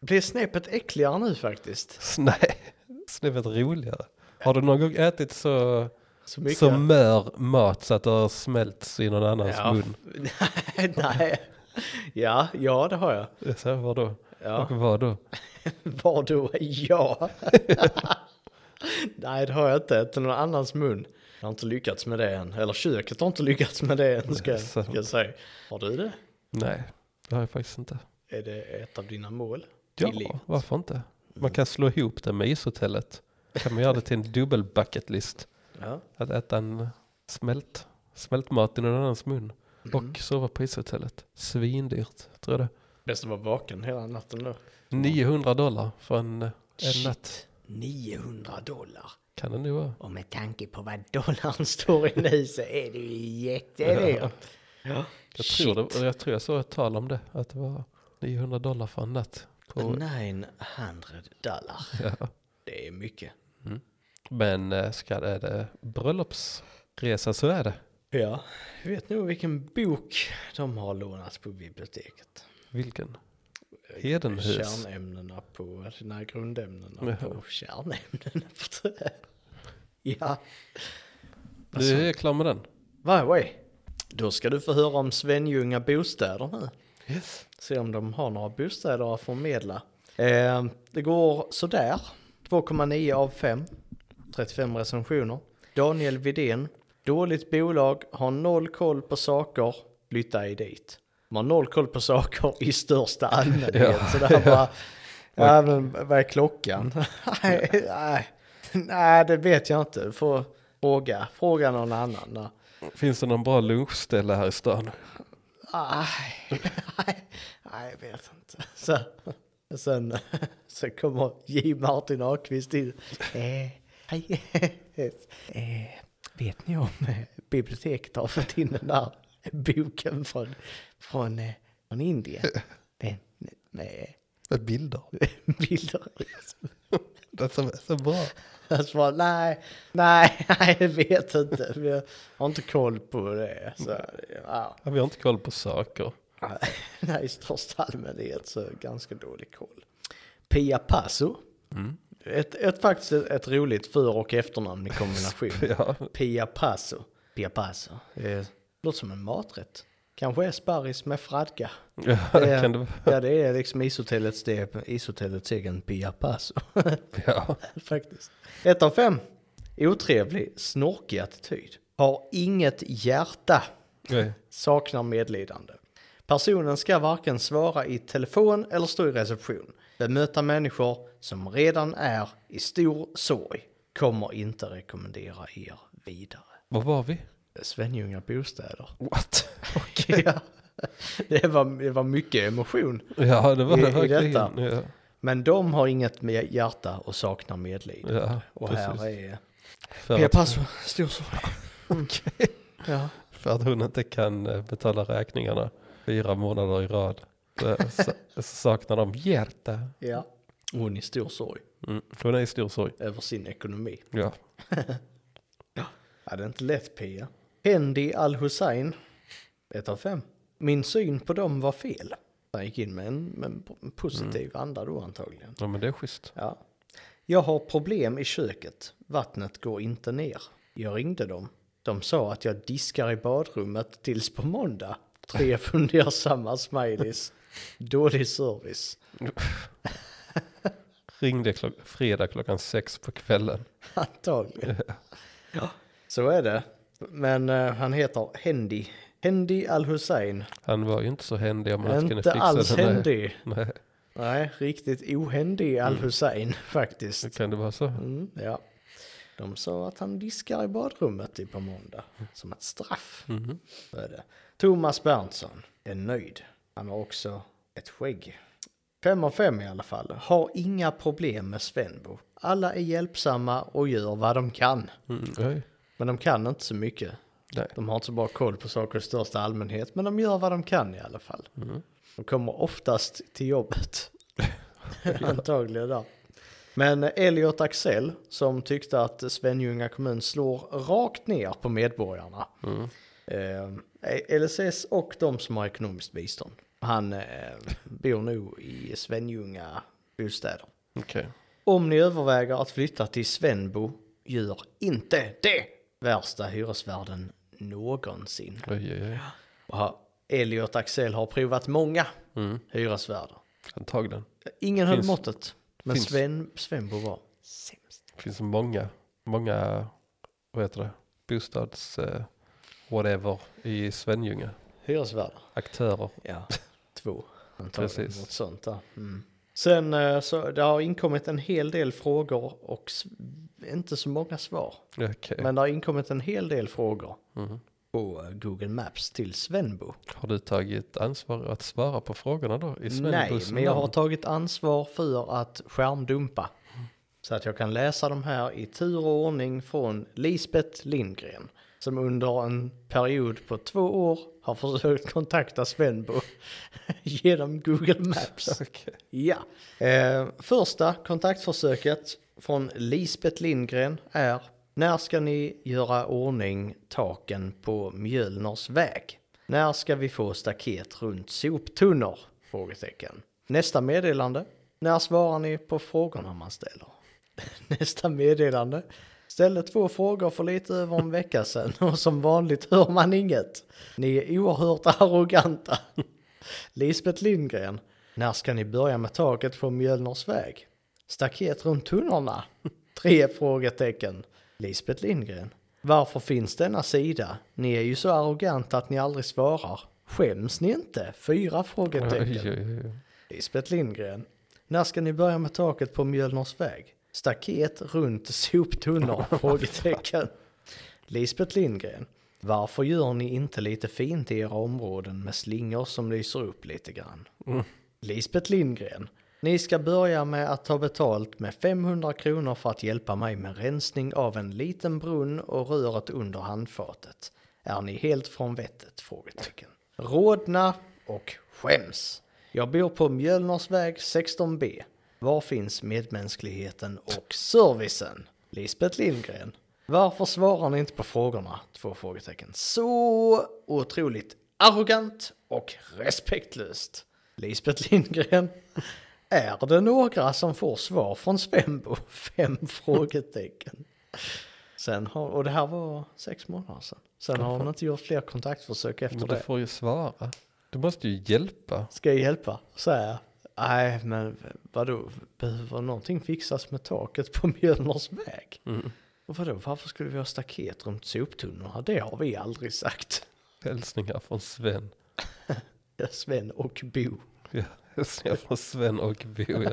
blir snäppet äckligare nu faktiskt.
Nej, snäppet roligare. Har du någon gång ätit så,
Så mycket.
så mör mat så att det har smälts i någon annans
ja.
mun?
nej, nej. Ja, ja, det har jag.
Så här, vad då?
Ja.
Och vad då?
Var du jag? Nej, det har jag inte. Till någon annans mun. Jag har inte lyckats med det än. Eller köket har inte lyckats med det än, ska, jag-
sant.
ska jag säga. Har du det?
Nej, det har jag faktiskt inte.
Är det ett av dina mål?
Ja,
i livet?
varför inte? Man kan slå ihop det med ishotellet. kan man göra det till en dubbel bucket list.
Ja.
Att äta en smält, smältmat i någon annans mun. Och sova på ishotellet. Svindyrt, tror jag det.
Bäst att vara vaken hela natten då.
900 dollar för en, en natt.
900 dollar.
Kan det nu vara.
Och med tanke på vad dollarn står i nu så är det ju jättedyrt. Ja.
Jag tror, det, jag tror jag såg ett tal om det, att det var 900 dollar för en natt.
Mm.
På,
900 dollar.
ja.
Det är mycket.
Men eh, ska det, är det bröllopsresa så är det.
Ja, jag vet nog vilken bok de har lånat på biblioteket.
Vilken? Eh, Hedenhus.
Kärnämnena på, nej grundämnena
Ja.
på kärnämnena på trä. Ja,
Du är jag klar med den.
by the way. Då ska du få höra om Svenljunga bostäder nu. Se om de har några bostäder att förmedla. Eh, det går sådär. 2,9 av 5. 35 recensioner. Daniel Vidén. Dåligt bolag, har noll koll på saker, flytta i dit. Man har noll koll på saker i största allmänhet. Så det här bara, ja men vad är klockan? nej, nej, nej, det vet jag inte. Får fråga, fråga någon annan. då.
Finns det någon bra lunchställe här i stan?
Nej, nej, nej, jag vet inte. Så, sen, sen kommer J. Martin Ahlqvist in. Eh, hej. Eh, vet ni om eh, biblioteket har fått in den där boken från, från, eh, från Indien? Med, med
Med bilder.
bilder i.
Det som är så bra.
Jag svarade nej, nej, nej, jag vet inte. Jag har inte koll på det. Så, ja.
Ja, vi har inte koll på saker.
Nej, i största allmänhet så ganska dålig koll. Pia Passo. Mm. Ett, ett, faktiskt ett, ett roligt för och efternamn i kombination.
Ja,
Pia Passo. Pia Passo. Eh, låter som en maträtt. Kanske är sparris med fradga.
ja
Eh,
kan det
ja, det är liksom ishotellets, det är ishotellets egen Pia Passo.
Ja,
faktiskt. Ett av fem. Otrevlig, snorkig attityd. Har inget hjärta
okej.
saknar medlidande. Personen ska varken svara i telefon eller stå i reception. Bemöta människor som redan är i stor sorg. Kommer inte rekommendera er vidare.
Var var vi?
Svenljunga bostäder.
What?
Ja. Det, var, det var mycket emotion.
Ja, det var
I-
det
i
verkligen.
detta.
Ja,
Men de har inget med hjärta och saknar medlidande.
ja,
och
precis.
här är
För
Pia
att,
Passo, stor så.
Okej.
Ja.
för att hon inte kan eh, betala räkningarna fyra månader i rad. Så, så, så saknar de hjärta.
ja. Hon är i stor sorg
Mm. Hon är i stor sorg.
över sin ekonomi.
Ja.
Ja, det är inte lätt Pia. Hendi Al-Hussein, ett av fem. Min syn på dem var fel. Han gick in med en, med en positiv anda då antagligen.
ja, men det är schysst.
Ja. Jag har problem i köket. Vattnet går inte ner. Jag ringde dem. De sa att jag diskar i badrummet tills på måndag. Tre fundersamma smileys. Dålig service.
Ringde klock, fredag klockan sex på kvällen.
Antagligen. Ja, så är det. Men eh, han heter Hendi. Hendi Al-Hussein.
Han var ju inte så händig om han inte kunde
Inte
fixa
alls
den här-
händig.
Nej,
Nej, riktigt ohändig
Mm.
Al-Hussein faktiskt.
det kan det vara så?
Mm, ja. De sa att han diskar i badrummet till på måndag. Som ett straff.
Mm-hmm.
Så är det. Thomas Berntsson är nöjd. Han har också ett skägg. Fem av fem i alla fall. Har inga problem med Svenbo. Alla är hjälpsamma och gör vad de kan.
Mm, nej.
Men de kan inte så mycket.
Nej.
De har inte så bra koll på saker i största allmänhet. Men de gör vad de kan i alla fall. De kommer oftast till jobbet. Antagligen där. Men Elliot Axell som tyckte att Svenljunga kommun slår rakt ner på medborgarna. Eh, LSS och de som har ekonomiskt bistånd. Han eh, bor nog i Svenljunga bostäder.
Okej.
Om ni överväger att flytta till Svenbo, gör inte det! Värsta hyresvärden någonsin.
Oj, oj, oj.
Och har- Elliot Axel har provat många
Mm.
hyresvärdar.
Antagligen.
Ingen höll
Finns-
måttet, men
finns.
Sven, Svenbo var sämst.
Det finns många, många, vad heter det, bostads, eh, whatever i Svenljunga.
Hyresvärdar?
Aktörer.
Ja, två. Antagligen
Precis.
något sånt där. Mm. Sen eh, så det har inkommit en hel del frågor och s- inte så många svar.
Okej. Mm.
Men det har inkommit en hel del frågor på eh, Google Maps till Svenbo.
Har du tagit ansvar att svara på frågorna då? I
Nej,
Svenbos
men jag har
namn?
tagit ansvar för att skärmdumpa. Så att jag kan läsa de här i tur och ordning från Lisbeth Lindgren. Som under en period på två år har försökt kontakta Svenbo genom Google Maps.
Okej.
Ja. Eh, första kontaktförsöket från Lisbeth Lindgren är När ska ni göra ordning taken på Mjölners väg? När ska vi få staket runt soptunnor? Frågetecken. Nästa meddelande. När svarar ni på frågorna man ställer? Nästa meddelande. Ställde två frågor för lite över en vecka sedan och som vanligt hör man inget. Ni är oerhört arroganta. Lisbeth Lindgren. När ska ni börja med taket på Mjölners väg? Staket runt tunnorna? Tre frågetecken. Lisbeth Lindgren. Varför finns denna sida? Ni är ju så arroganta att ni aldrig svarar. Skäms ni inte? Fyra frågetecken.
Oj, oj, oj.
Lisbeth Lindgren. När ska ni börja med taket på Mjölners väg? Staket runt soptunnor? Frågetecken. Lisbeth Lindgren. Varför gör ni inte lite fint i era områden med slingor som lyser upp lite grann? Lisbeth Lindgren. Ni ska börja med att ta betalt med 500 kronor för att hjälpa mig med rensning av en liten brunn och röret under handfatet. Är ni helt från vettet? Frågetecken. Rodna och skäms. Jag bor på Mjölners väg 16B. Var finns medmänskligheten och servicen? Lisbeth Lindgren. Varför svarar ni inte på frågorna? Två frågetecken. Så otroligt arrogant och respektlöst. Lisbeth Lindgren. Är det några som får svar från Svenbo? Fem frågetecken. Sen har, och det här var sex månader sedan. Sen har hon inte gjort fler kontaktförsök efter
Men du
det.
får ju svara. Du måste ju hjälpa.
Ska jag hjälpa? Så här. Nej, men vadå? Behöver någonting fixas med taket på Mjölners väg?
Mm.
Och vadå, varför skulle vi ha staket runt soptunnorna? Det har vi aldrig sagt.
Hälsningar från Sven.
Sven och Bo.
Ja, hälsningar från Sven och Bo. Ja.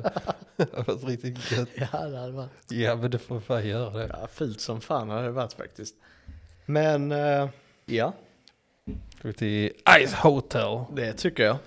Det hade varit riktigt gött.
Ja, det hade varit
Ja, men du får fan göra det.
ja, fult som fan hade det varit faktiskt. Men, eh, ja,
Ska vi till Ice Hotel.
det tycker jag.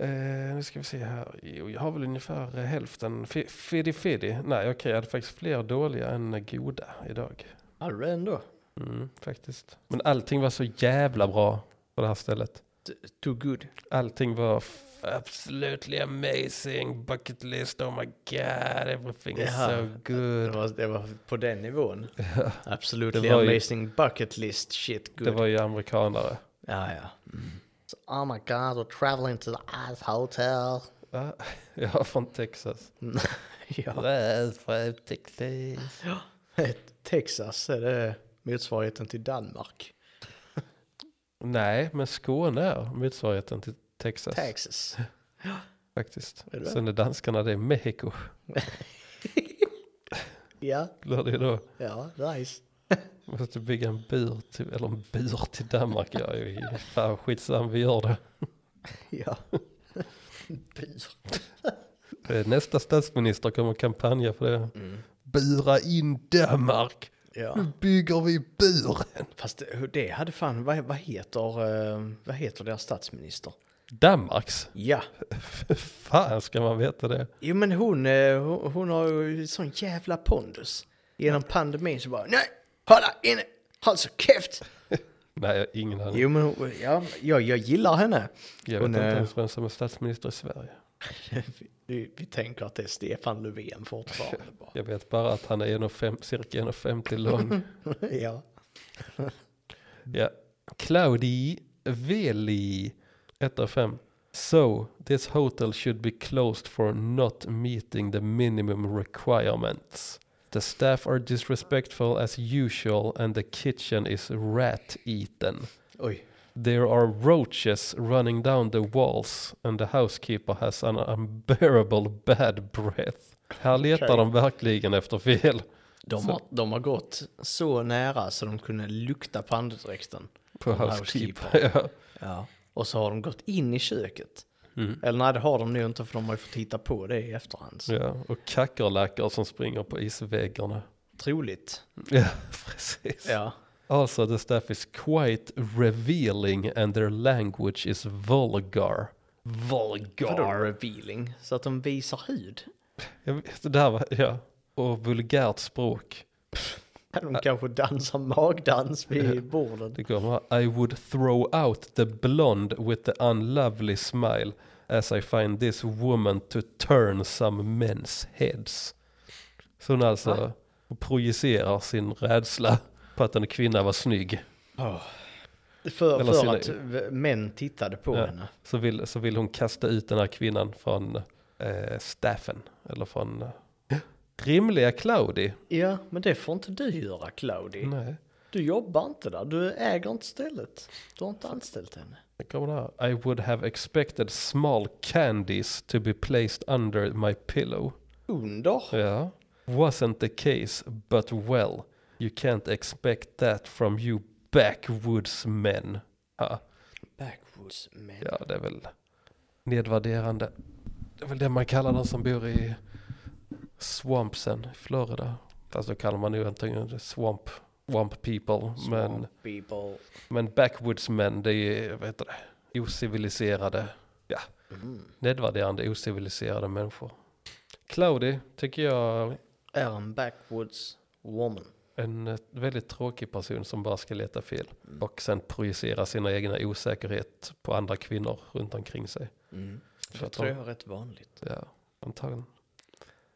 Eh, nu ska vi se här. Jo, jag har väl ungefär eh, hälften. Fi- Fidi fidi. Nej, okej, jag hade faktiskt fler dåliga än eh, goda idag.
Hade du ändå?
Mm, faktiskt. Men allting var så jävla bra på det här stället.
T- Too good.
Allting var f- absolutely amazing, bucket list, oh my god, everything is
Jaha.
so
Det
good.
var, det var på den nivån. Absolutely
Det var ju-
amazing bucket list shit good.
Det var ju amerikanare.
Ja, ja. So, oh my god, we're traveling to the ice hotel.
Va? Ja, från Texas.
ja.
Väl från Texas.
Texas är det motsvarigheten till Danmark.
Nej, men Skåne är motsvarigheten till Texas
Texas.
faktiskt.
Är det?
Sen är danskarna, det är Mexiko.
Ja,
Blir det då.
ja, nice.
Måste bygga en bur till, eller en bur till Danmark. Jag är ju fan skitsam, vi gör det.
Ja. Byr.
Eh, Nästa statsminister kommer kampanja för det. Bura in Danmark.
Ja,
Nu bygger vi buren.
Mm. fast det- det hade fan, vad, vad heter, eh, vad heter deras statsminister?
Danmarks?
Ja,
fan ska man veta det?
jo men hon, eh, hon, hon har ju sån jävla pondus. Genom pandemin så bara, nej, hålla inne, håll så käft.
Nej, jag har ingen aning.
Jo men hon- ja, jag, jag gillar henne.
Jag vet
hon
inte
är-
ens vem som är statsminister i Sverige.
Vi, vi tänker att det är Stefan Löfven fortfarande bara.
Jag vet bara att han är 1,5 cirka 1,50 lång.
ja.
ja. Claudi Veli, 1 av 5. So, this hotel should be closed for not meeting the minimum requirements. The staff are disrespectful as usual and the kitchen is rat-eaten.
Oj.
There are roaches running down the walls and the housekeeper has an unbearable bad breath. Här letar
Okej.
de verkligen efter fel.
De har, de har gått så nära så de kunde lukta på andedräkten.
På
Från
housekeeper. Ja.
Ja. Och så har de gått in i köket. Eller nej, det har de nog inte för de har ju fått hitta på det i efterhand.
ja, och kackerlackor som springer på isväggarna.
Troligt.
Ja, precis.
Ja.
Also the staff is quite revealing and their language is vulgar.
Vadå
Vulgar.
revealing? Så att de visar hud?
Jag vet, det där var, ja. Och vulgärt språk.
Ja, De kanske dansar magdans vid bordet.
Det kommer här. I would throw out the blonde with the unlovely smile as I find this woman to turn some men's heads. Så hon alltså projicerar sin rädsla på att en kvinna var snygg.
För,
Eller
för
sina-
att v- män tittade på
Ja.
henne.
Så vill, så vill hon kasta ut den här kvinnan från eh, staffen. Eller från eh, rimliga Claudi.
Ja, men det får inte du göra, Claudi.
Nej.
Du jobbar inte där, du äger inte stället. Du har inte anställt henne.
Det kommer det här. I would have expected small candies to be placed under my pillow.
Under?
Ja. Wasn't the case, but well. You can't expect that from you backwoods men. Ah. Ja,
Backwoods men.
ja det är väl nedvärderande. Det är väl det man kallar de som bor i swampsen i Florida. Fast då kallar man ju antingen det swamp, swamp people. Men,
Swamp people.
men backwoods men, det är vad heter det, ociviliserade, ja,
Mm.
nedvärderande ociviliserade människor. Cloudy tycker jag
Är en backwoods woman.
En eh, väldigt tråkig person som bara ska leta fel och sen projicera sina egna osäkerhet på andra kvinnor runt omkring sig.
Det
Så att
tror
de,
jag är rätt vanligt.
ja, antagligen.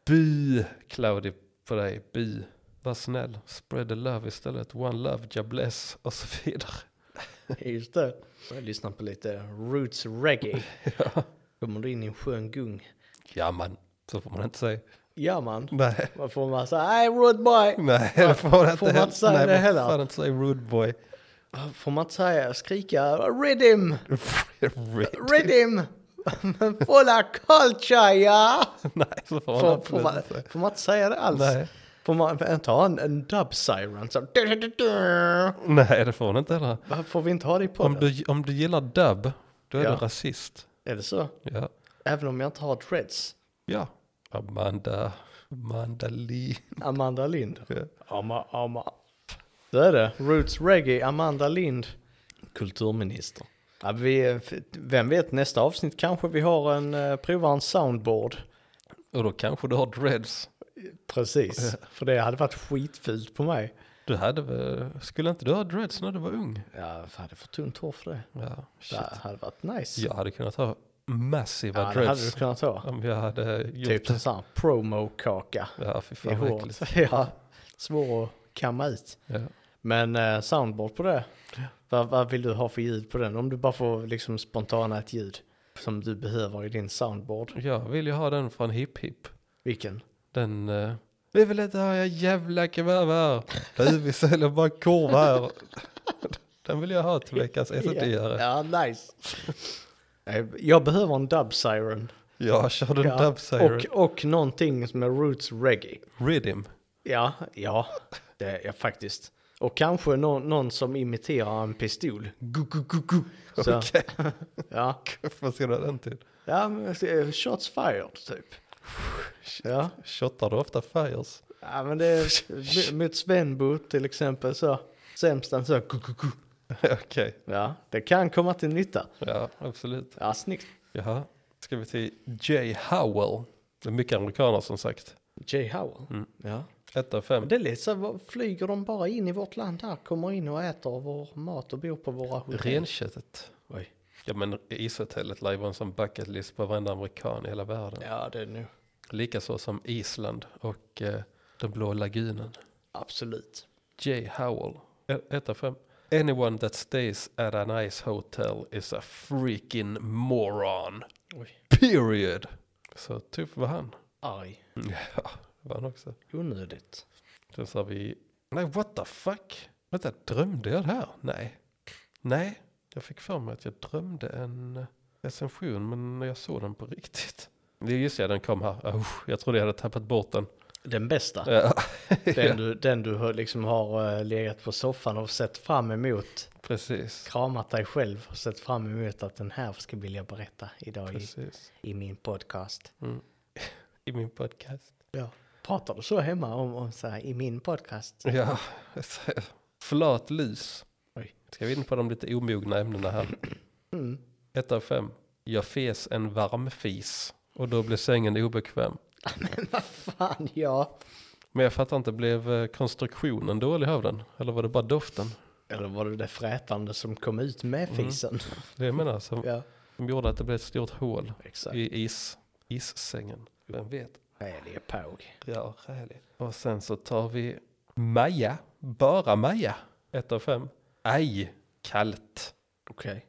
By, Claudi, på dig. By. Var snäll. Spread the love istället. One love, God bless och så vidare.
Just det. Jag lyssnar på lite roots reggae. Kommer du in i en skön gung.
Ja, man. Så får man inte säga.
Ja man.
Nej.
Man får man säga hej rude boy.
Nej, det får man inte.
Får man inte säga
Nej,
det
man får
heller?
fan inte säga rude boy.
Får man inte säga, skrika rhythm, rhythm, fulla culture ja.
Nej, så får man
Får,
absolut
får, man,
inte säga.
får man inte säga det alls?
Nej.
Får man inte ha en, en dub siren så?
Nej, det får man inte heller.
Varför får vi inte ha det i
Om
podden?
du, om du gillar dubb, då är
Ja.
du rasist.
Är det så?
Ja.
Även om jag inte har dreads?
ja. Amanda, Amanda Lee.
Amanda Lind.
Ja.
Ama, ama. Det är det. Roots Reggae, Amanda Lind. Kulturminister. Ja, vi, vem vet, nästa avsnitt kanske vi har en, eh, provar en soundboard.
Och då kanske du har dreads.
Precis, för det hade varit skitfult på mig.
Du hade väl, skulle inte du ha dreads när du var ung?
Jag hade för tunt hår för det.
Ja, shit.
Det hade varit nice.
Jag hade kunnat ha massiva
Ja, det hade du
dreads.
kunnat ha.
Om jag hade gjort
Typ en sån här promo-kaka
Ja, fy
i
fan vad äckligt.
håret. Ja, svår att kamma ut.
Ja.
Men eh, soundboard på det. Vad, vad vill du ha för ljud på den? Om du bara får liksom spontana ett ljud som du behöver i din soundboard.
Jag vill ju ha den från Hip Hip.
Vilken?
Den... eh, vi vill inte ha era jävla kebab här. Du, vi säljer bara korv här. Den vill jag ha till veckans SOT-are.
Ja, nice. Eh, Jag behöver en dub siren.
Jag körde en
Ja,
dub siren.
Och, och någonting som är roots reggae.
Rhythm.
Ja, ja, det är jag faktiskt. Och kanske någon, någon som imiterar en pistol. Gu, gu, gu, gu. Så,
Okej,
ja.
vad ska du ha den till?
ja, men eh, shots fired typ. Ja,
Shottar du ofta fires?
ja men det är mot Svenbo till exempel så. Sämstan så. Gu, gu, gu.
Okej,
Ja, det kan komma till nytta.
ja absolut.
Ja, snyggt.
Jaha, ska vi till J. Howell. Det är mycket amerikaner som sagt.
J. Howell. Ja.
Ett av fem.
Det är lite så, vad- flyger de bara in i vårt land här, kommer in och äter vår mat och bor på våra hotell?
Renköttet.
Oj.
Ja men ishotellet lär ju vara en sån bucket list på varenda amerikan i hela världen.
Ja, det är nu.
Likaså som Island och eh, den blå lagunen.
Absolut.
J. Howell, 1 av 5. Anyone that stays at an ice hotel is a freaking moron.
Oj.
Period. Så tuff var han.
Arg.
Ja, det var han också.
Onödigt.
Sen sa vi, nej what the fuck? Vänta, drömde jag det här? Nej. Nej, jag fick för mig att jag drömde en recension men jag såg den på riktigt. Det är just det, den kom här. Oh, jag trodde jag hade tappat bort den.
Den bästa.
Ja,
Den du, den du har- liksom har eh, legat på soffan och sett fram emot.
precis.
Kramat dig själv och sett fram emot att den här ska vilja berätta idag i,
Precis.
i min podcast.
I min podcast.
Ja. Pratar du så hemma om, om så här, i min podcast?
Ja, flat lys.
Oj.
Ska vi in på de lite omogna ämnena här?
Mm.
Ett av fem. Jag fes en varm fis och då blev sängen obekväm.
Men vad fan, ja.
Men jag fattar inte, blev eh, konstruktionen dålig av den? Eller var det bara doften?
Eller var det det frätande som kom ut med fisen?
Det jag menar, som,
Ja,
som gjorde att det blev ett stort hål
exakt.
i is, issängen. Vem vet?
Skälig påg.
Ja, rälig. Och sen så tar vi Maja, bara Maja, ett av fem. Aj, kallt.
Okej.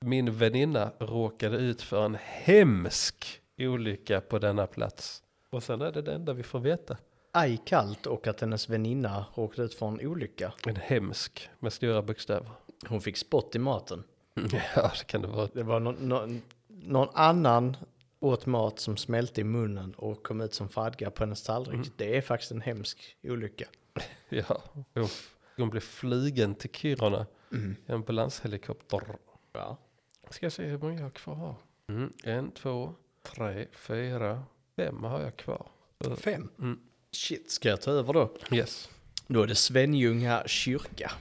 Min väninna råkade ut för en hemsk olycka på denna plats. Och sen är det det enda vi får veta.
Aj kallt och att hennes väninna råkade ut för en olycka.
En hemsk med stora bokstäver.
Hon fick spott i maten.
Mm, Ja, det kan det vara.
Det var någon, någon, någon annan åt mat som smälte i munnen och kom ut som fadga på hennes tallrik. Det är faktiskt en hemsk olycka.
Ja. Uff. Hon blev flygen till Kiruna
Mm.
i ambulanshelikopter.
Ja.
Ska se hur många jag har kvar här. Mm. En, två, tre, fyra, fem har jag kvar. Eh,
Fem.
Mm.
Shit, ska jag ta över då?
Yes.
Då är det Svenljunga kyrka.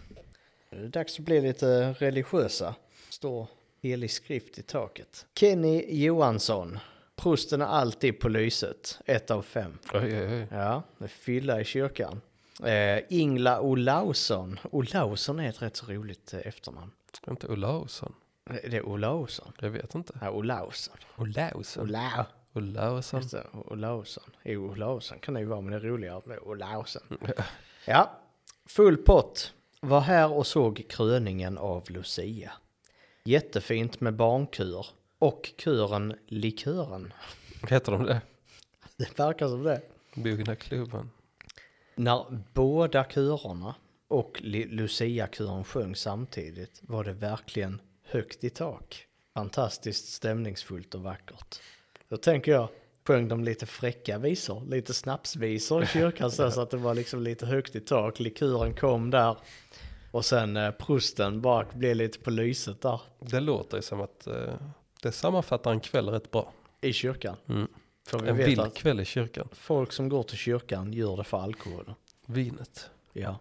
Nu är det dags att bli lite religiösa. Står helig skrift i taket. Kenny Johansson. Prosten är alltid på lyset. Ett av fem.
Oj, oj, oj.
Ja, det är fylla i kyrkan. Eh, Ingla Olausson. Olausson är ett rätt så roligt eh, efternamn.
Inte Olausson.
Eh, Det är Olausson.
Jag vet inte.
Ja, Olausson.
Olausson.
Ola.
Olausson.
Just det, Olausson. Jo, Olausson kan det ju vara, men det är roligare med Olausson. Ja, full pott. Var här och såg kröningen av Lucia. Jättefint med barnkur och kuren Likören.
Heter de det?
Det verkar som det.
Bogna klubben.
När båda kurerna och Li- Lucia-kuren sjöng samtidigt var det verkligen högt i tak. Fantastiskt stämningsfullt och vackert. Då tänker jag, sjöng de lite fräcka visor, lite snapsvisor i kyrkan så, så att det var liksom lite högt i tak. Likören kom där och sen eh, prosten bara blev lite på lyset där
Det låter ju som att eh, det sammanfattar en kväll rätt bra.
i kyrkan. För vi
En
vet
vild
att
kväll i kyrkan.
folk som går till kyrkan gör det för alkohol.
Vinet.
Ja.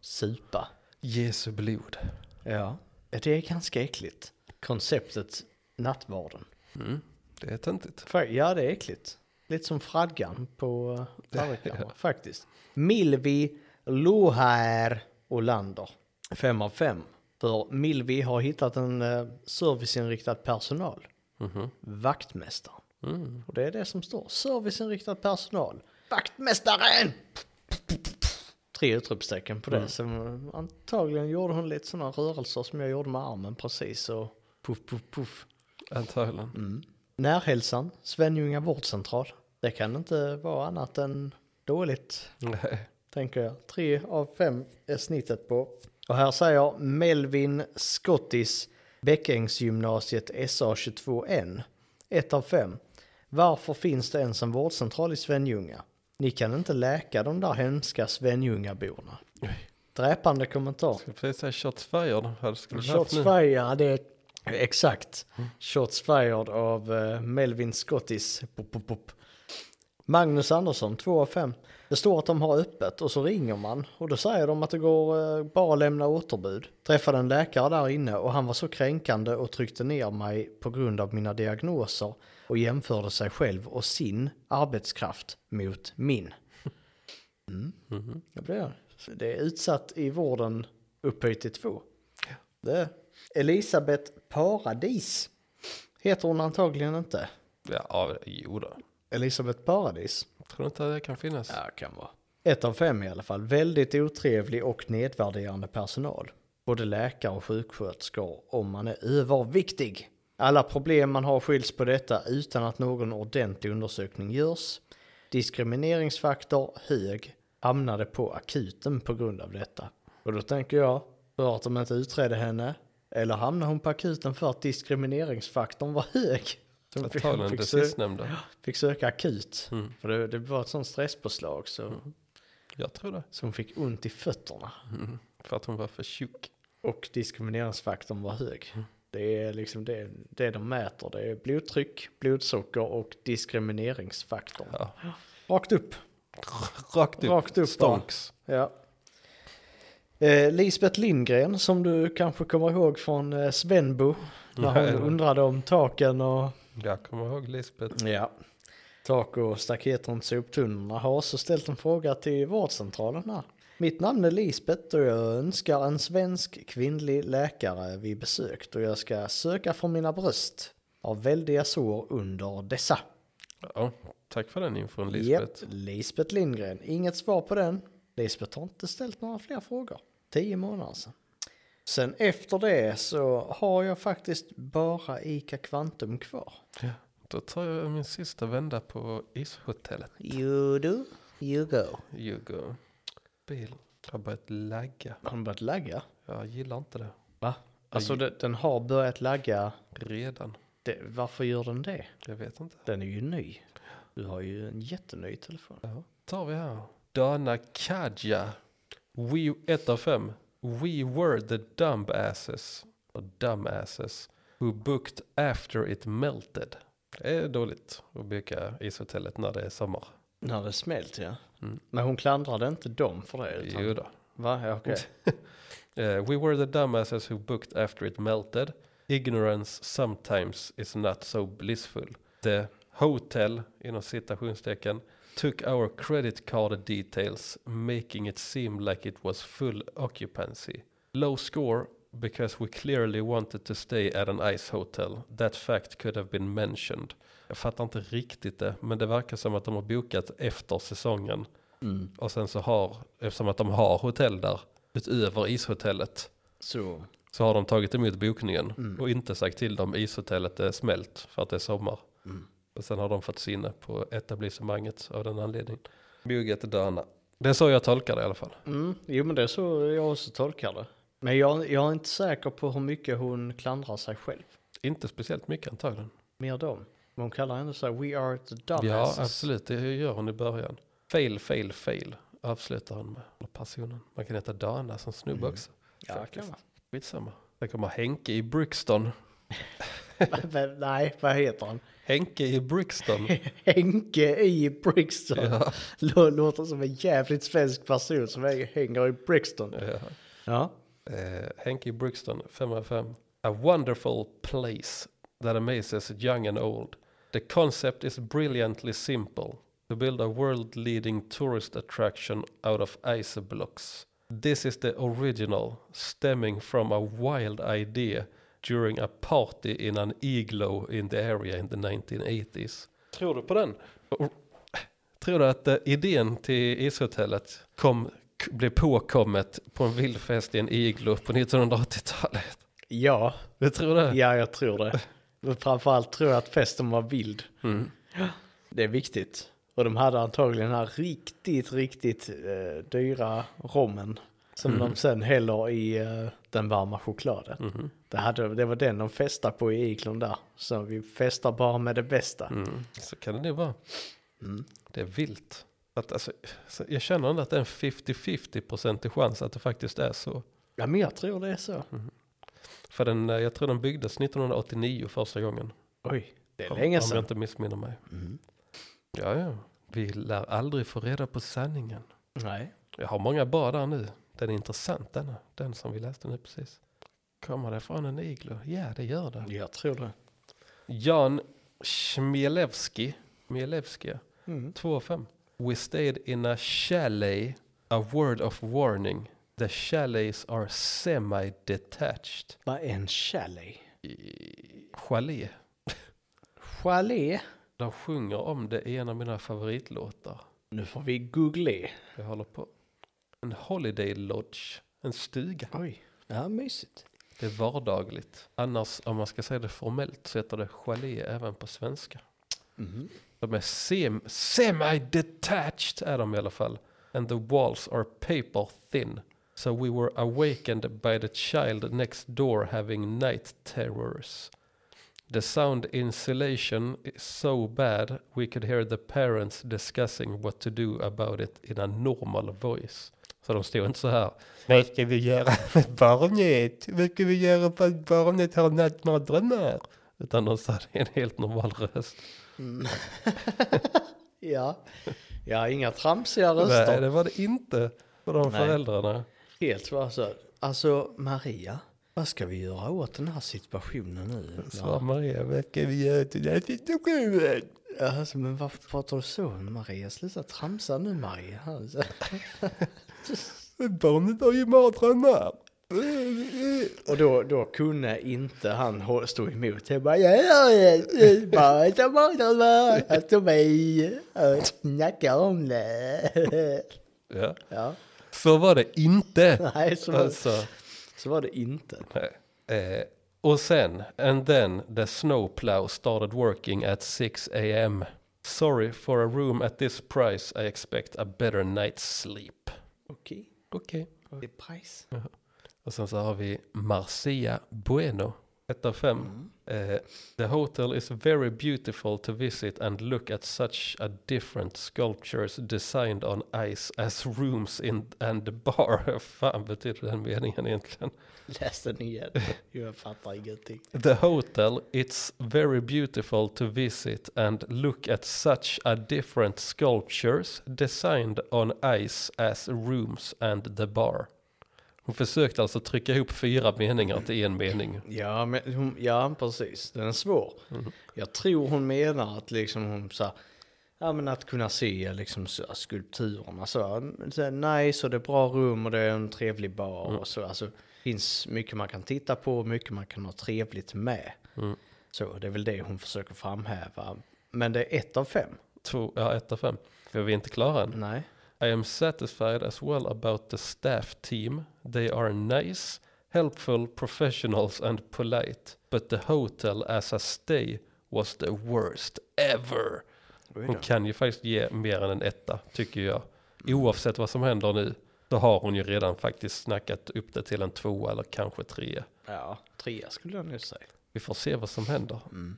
Supa.
Jesu blod.
Ja, det är ganska äckligt. konceptet nattvarden.
Mm. Det är töntigt.
Fa- Ja, det är äckligt. Lite som fradgan på eh, tallrikarna
Ja.
faktiskt. Milvi, Lohaer och Lander. Fem av fem. För Milvi har hittat en eh, serviceinriktad personal.
Mhm.
Vaktmästaren.
Mm.
Och det är det som står. Serviceinriktad personal. Vaktmästaren! Tre utropstecken på det. Så antagligen gjorde hon lite sådana rörelser som jag gjorde med armen precis. Och puff, puff, puff.
Antagligen.
Mm. Närhälsan, Svenljunga vårdcentral. Det kan inte vara annat än dåligt,
Nej.
tänker jag. Tre av fem är snittet på. Och här säger Melvin Scottis, Bäckängsgymnasiet SA22N. Ett av fem. Varför finns det ens en vårdcentral i Svenljunga? Ni kan inte läka de där hemska Svenljungaborna. Dräpande kommentar.
Ska precis säga shots fired. Här skulle du haft
Shots
nu.
fired, ja, det är exakt. Shots fired av eh, Melvin Scottis. Pop, pop, pop. Magnus Andersson, 2 av 5. Det står att de har öppet och så ringer man och då säger de att det går eh, bara att lämna återbud. Träffade en läkare där inne och han var så kränkande och tryckte ner mig på grund av mina diagnoser och jämförde sig själv och sin arbetskraft mot min. Mm.
Mhm.
Det blir jag. Det är utsatt i vården upphöjt till två. Det är Elisabeth Paradis heter hon antagligen inte.
Ja, ja, jo då.
Elisabeth Paradis.
Tror du inte att det kan finnas?
Ja, kan vara. Ett av fem i alla fall. Väldigt otrevlig och nedvärderande personal. Både läkare och sjuksköterskor om man är överviktig. Alla problem man har skiljs på detta utan att någon ordentlig undersökning görs. Diskrimineringsfaktor hög. Hamnade på akuten på grund av detta. Och då tänker jag, för att de inte utredde henne. Eller hamnade hon på akuten för att diskrimineringsfaktorn var hög? Så hon fick-
Antagligen
fick
det
sö-
sistnämnda.
fick söka akut.
Mm.
För det, det var ett sånt stresspåslag så,
Jag tror det.
så hon fick ont i fötterna.
Mm. För att hon var för tjock.
Och diskrimineringsfaktorn var hög.
Mm.
Det är liksom det, det de mäter. Det är blodtryck, blodsocker och diskrimineringsfaktorn.
Ja.
Rakt upp.
Rakt upp.
Rakt upp
Stonks.
Ja. Eh, Lisbeth Lindgren som du kanske kommer ihåg från eh, Svenbo. När
Nej,
hon
nej.
undrade om taken och
Jag kommer ihåg Lisbeth.
Ja. Tak och staket runt soptunnorna har också ställt en fråga till vårdcentralen här. Mitt namn är Lisbeth och jag önskar en svensk kvinnlig läkare vid besök då jag ska söka för mina bröst. Har väldiga sår under dessa.
Ja, tack för den infon Lisbeth.
Japp, Lisbeth Lindgren. Inget svar på den. Lisbeth har inte ställt några fler frågor. Tio månader sedan. Sen efter det så har jag faktiskt bara ICA Kvantum kvar.
Ja. Då tar jag min sista vända på ishotellet.
You do, you go.
You go. Bil har börjat lagga.
Har den börjat lagga?
Jag gillar inte det.
Va? Alltså de- den har börjat lagga.
Redan.
Det, varför gör den det?
Jag vet inte.
Den är ju ny. Du har ju en jätteny telefon.
Ja. Tar vi här. Dana Kaja. We, 1 av 5. We were the dumbasses. Och dumbasses. Who booked after it melted. Det är dåligt att bygga ishotellet när det är sommar.
När det smält ja.
Mm.
Men hon klandrade inte dem för det utan...
Jo då.
Va? Ja, okej.
Eh, we were the dumbasses who booked after it melted. Ignorance sometimes is not so blissful. The hotel, inom citationstecken, took our credit card details, making it seem like it was full occupancy. Low score because we clearly wanted to stay at an ice hotel. That fact could have been mentioned. Jag fattar inte riktigt det, men det verkar som att de har bokat efter säsongen.
Mm.
Och sen så har, eftersom att de har hotell där, utöver ishotellet,
Så.
så har de tagit emot bokningen och inte sagt till dem ishotellet är smält för att det är sommar. Och sen har de fått sinne på etablissemanget av den anledningen. Bygget Döna. Det är så jag tolkar det i alla fall.
Mm. Jo men det är så jag också tolkar det. Men jag, jag är inte säker på hur mycket hon klandrar sig själv.
Inte speciellt mycket antagligen.
Mer dem. Men hon kallar henne så här, we are the
Ja,
dumbasses.
absolut. Det gör hon i början. Fail, fail, fail. Avslutar hon med. Eller personen. Man kan heta Dana som snubbe också.
Ja,
Faktiskt.
kan man.
Skitsamma. Sen kommer Henke i Brixton.
Men Nej, vad heter han?
Henke i Brixton.
Henke i Brixton.
Ja.
Lå- Låter som en jävligt svensk person som hänger i Brixton.
Ja.
Ja.
Eh, Henke i Brixton, 5 av 5. A wonderful place that amazes young and old. The concept is brilliantly simple to build a world leading tourist attraction out of ice blocks. This is the original, stemming from a wild idea during a party in an igloo in the area in the 1980s. Tror du på den? Och- Tror du att eh, idén till ishotellet kom, k- blev påkommet på en vild fest i en igloo på 1980-talet?
Ja,
Du tror det?
ja jag tror det. Men framförallt tror jag att festen var vild.
Mm.
Det är viktigt. Och de hade antagligen den här riktigt, riktigt eh, dyra rommen. Som
Mm.
de sen häller i eh, den varma chokladen.
mm,
Det, hade, det var den de festade på i iglon där. Så vi festar bara med det bästa. Mm.
Mm. Så kan det nog vara. Mm. Det är vilt. Att, alltså, så jag känner ändå att det är en 50-50 procentig chans att det faktiskt är så.
Ja men jag tror det är så.
Mm. För den, eh, jag tror den byggdes 1989 första gången.
Oj, det är
Om-
länge
Om jag
sedan. Mm.
inte missminner mig. Ja, ja. Vi lär aldrig få reda på sanningen.
Nej.
Jag har många bra där nu. Den är intressant denna. Den som vi läste nu precis. Kommer det från en iglo? Ja, det gör det.
Jag tror det.
Jan Chmielewski. Chmielewski,
Mm.
2,5. We stayed in a chalet. A word of warning. The chalets are semi-detached.
Vad är en chalet?
I- Chalet.
Chalet?
De sjunger om det i en av mina favoritlåtar.
Nu får vi googla.
Jag håller på. En holiday lodge. En stuga.
Oj. Ja, mysigt.
Det är vardagligt. Annars, om man ska säga det formellt, så heter det gelé även på svenska.
Mhm.
De är sem- semi-detached är de i alla fall. And the walls are paper thin. So we were awakened by the child next door having night terrors. The sound insulation is so bad we could hear the parents discussing what to do about it in a normal voice. Så de stod inte så här. Vad ska vi göra med barnet? Vad ska vi göra för att barnet har nattmardrömmar? Utan de sa det i en helt normal röst.
Ja. Ja, inga tramsiga
Nej,
röster.
det var det inte för de
Nej.
föräldrarna.
Helt bara så. Alltså, Maria. Vad ska vi göra åt den här situationen nu?
Så var Maria, vad ska vi göra till den här situationen?
Ja, Alltså, men varför pratar du så Maria? Sluta tramsa nu Maria. Alltså.
Barnet har ju mardrömmar.
Och då, då kunde inte han hå- stå emot. Jag bara, jag gör det. Bara ta bort det. Alltså mig. Jag Snackar om det.
Ja.
Ja,
Så var det inte.
nej, så var,
Alltså.
så var det inte.
Nej. Eh, och sen, and then the snowplow started working at 6 am. Sorry for a room at this price, I expect a better night's sleep.
Okej.
Okej.
Det är price.
Och sen så har vi Marcia Bueno, 1 av 5. Eh, the hotel is very beautiful to visit and look at such a different sculptures designed on ice as rooms in and the bar. Fan betyder den meningen egentligen?
Läs den igen. Jag fattar ingenting.
The hotel, it's very beautiful to visit and look at such a different sculptures designed on ice as rooms and the bar. Hon försökte alltså trycka ihop fyra meningar till en mening.
Ja, men, hon, ja, precis. Den är svår. Jag tror hon menar att liksom hon så här, ja men att kunna se liksom så här, skulpturerna så, så här, nice och det är bra rum och det är en trevlig bar och så. Alltså, finns mycket man kan titta på, mycket man kan ha trevligt med. Så det är väl det hon försöker framhäva. Men det är ett av fem.
Två, ja, ett av fem. För vi är inte klara än.
Nej.
I am satisfied as well about the staff team. They are nice, helpful professionals and polite. But the hotel as a stay was the worst ever.
Oj
Hon
då.
kan ju faktiskt ge mer än en etta, tycker jag. Oavsett vad som händer nu, så har hon ju redan faktiskt snackat upp det till en tvåa eller kanske trea.
Ja, trea skulle jag nu säga.
Vi får se vad som händer.
Mm.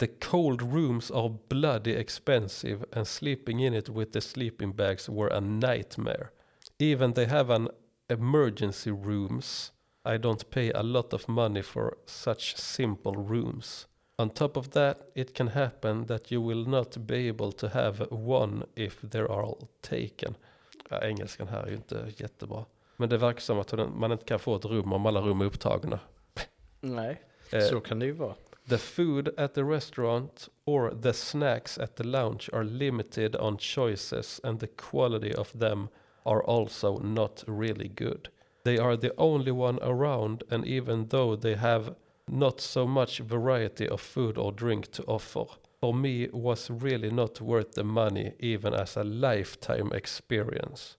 The cold rooms are bloody expensive and sleeping in it with the sleeping bags were a nightmare. Even they have an emergency rooms. I don't pay a lot of money for such simple rooms. On top of that, it can happen that you will not be able to have one if they are all taken. Ja, engelskan här är ju inte jättebra. Men det verkar som att man inte kan få ett rum om alla rum är upptagna.
Nej,
Eh,
så kan det ju vara.
The food at the restaurant or the snacks at the lounge are limited on choices and the quality of them are also not really good. They are the only one around and even though they have not so much variety of food or drink to offer, for me was really not worth the money even as a lifetime experience.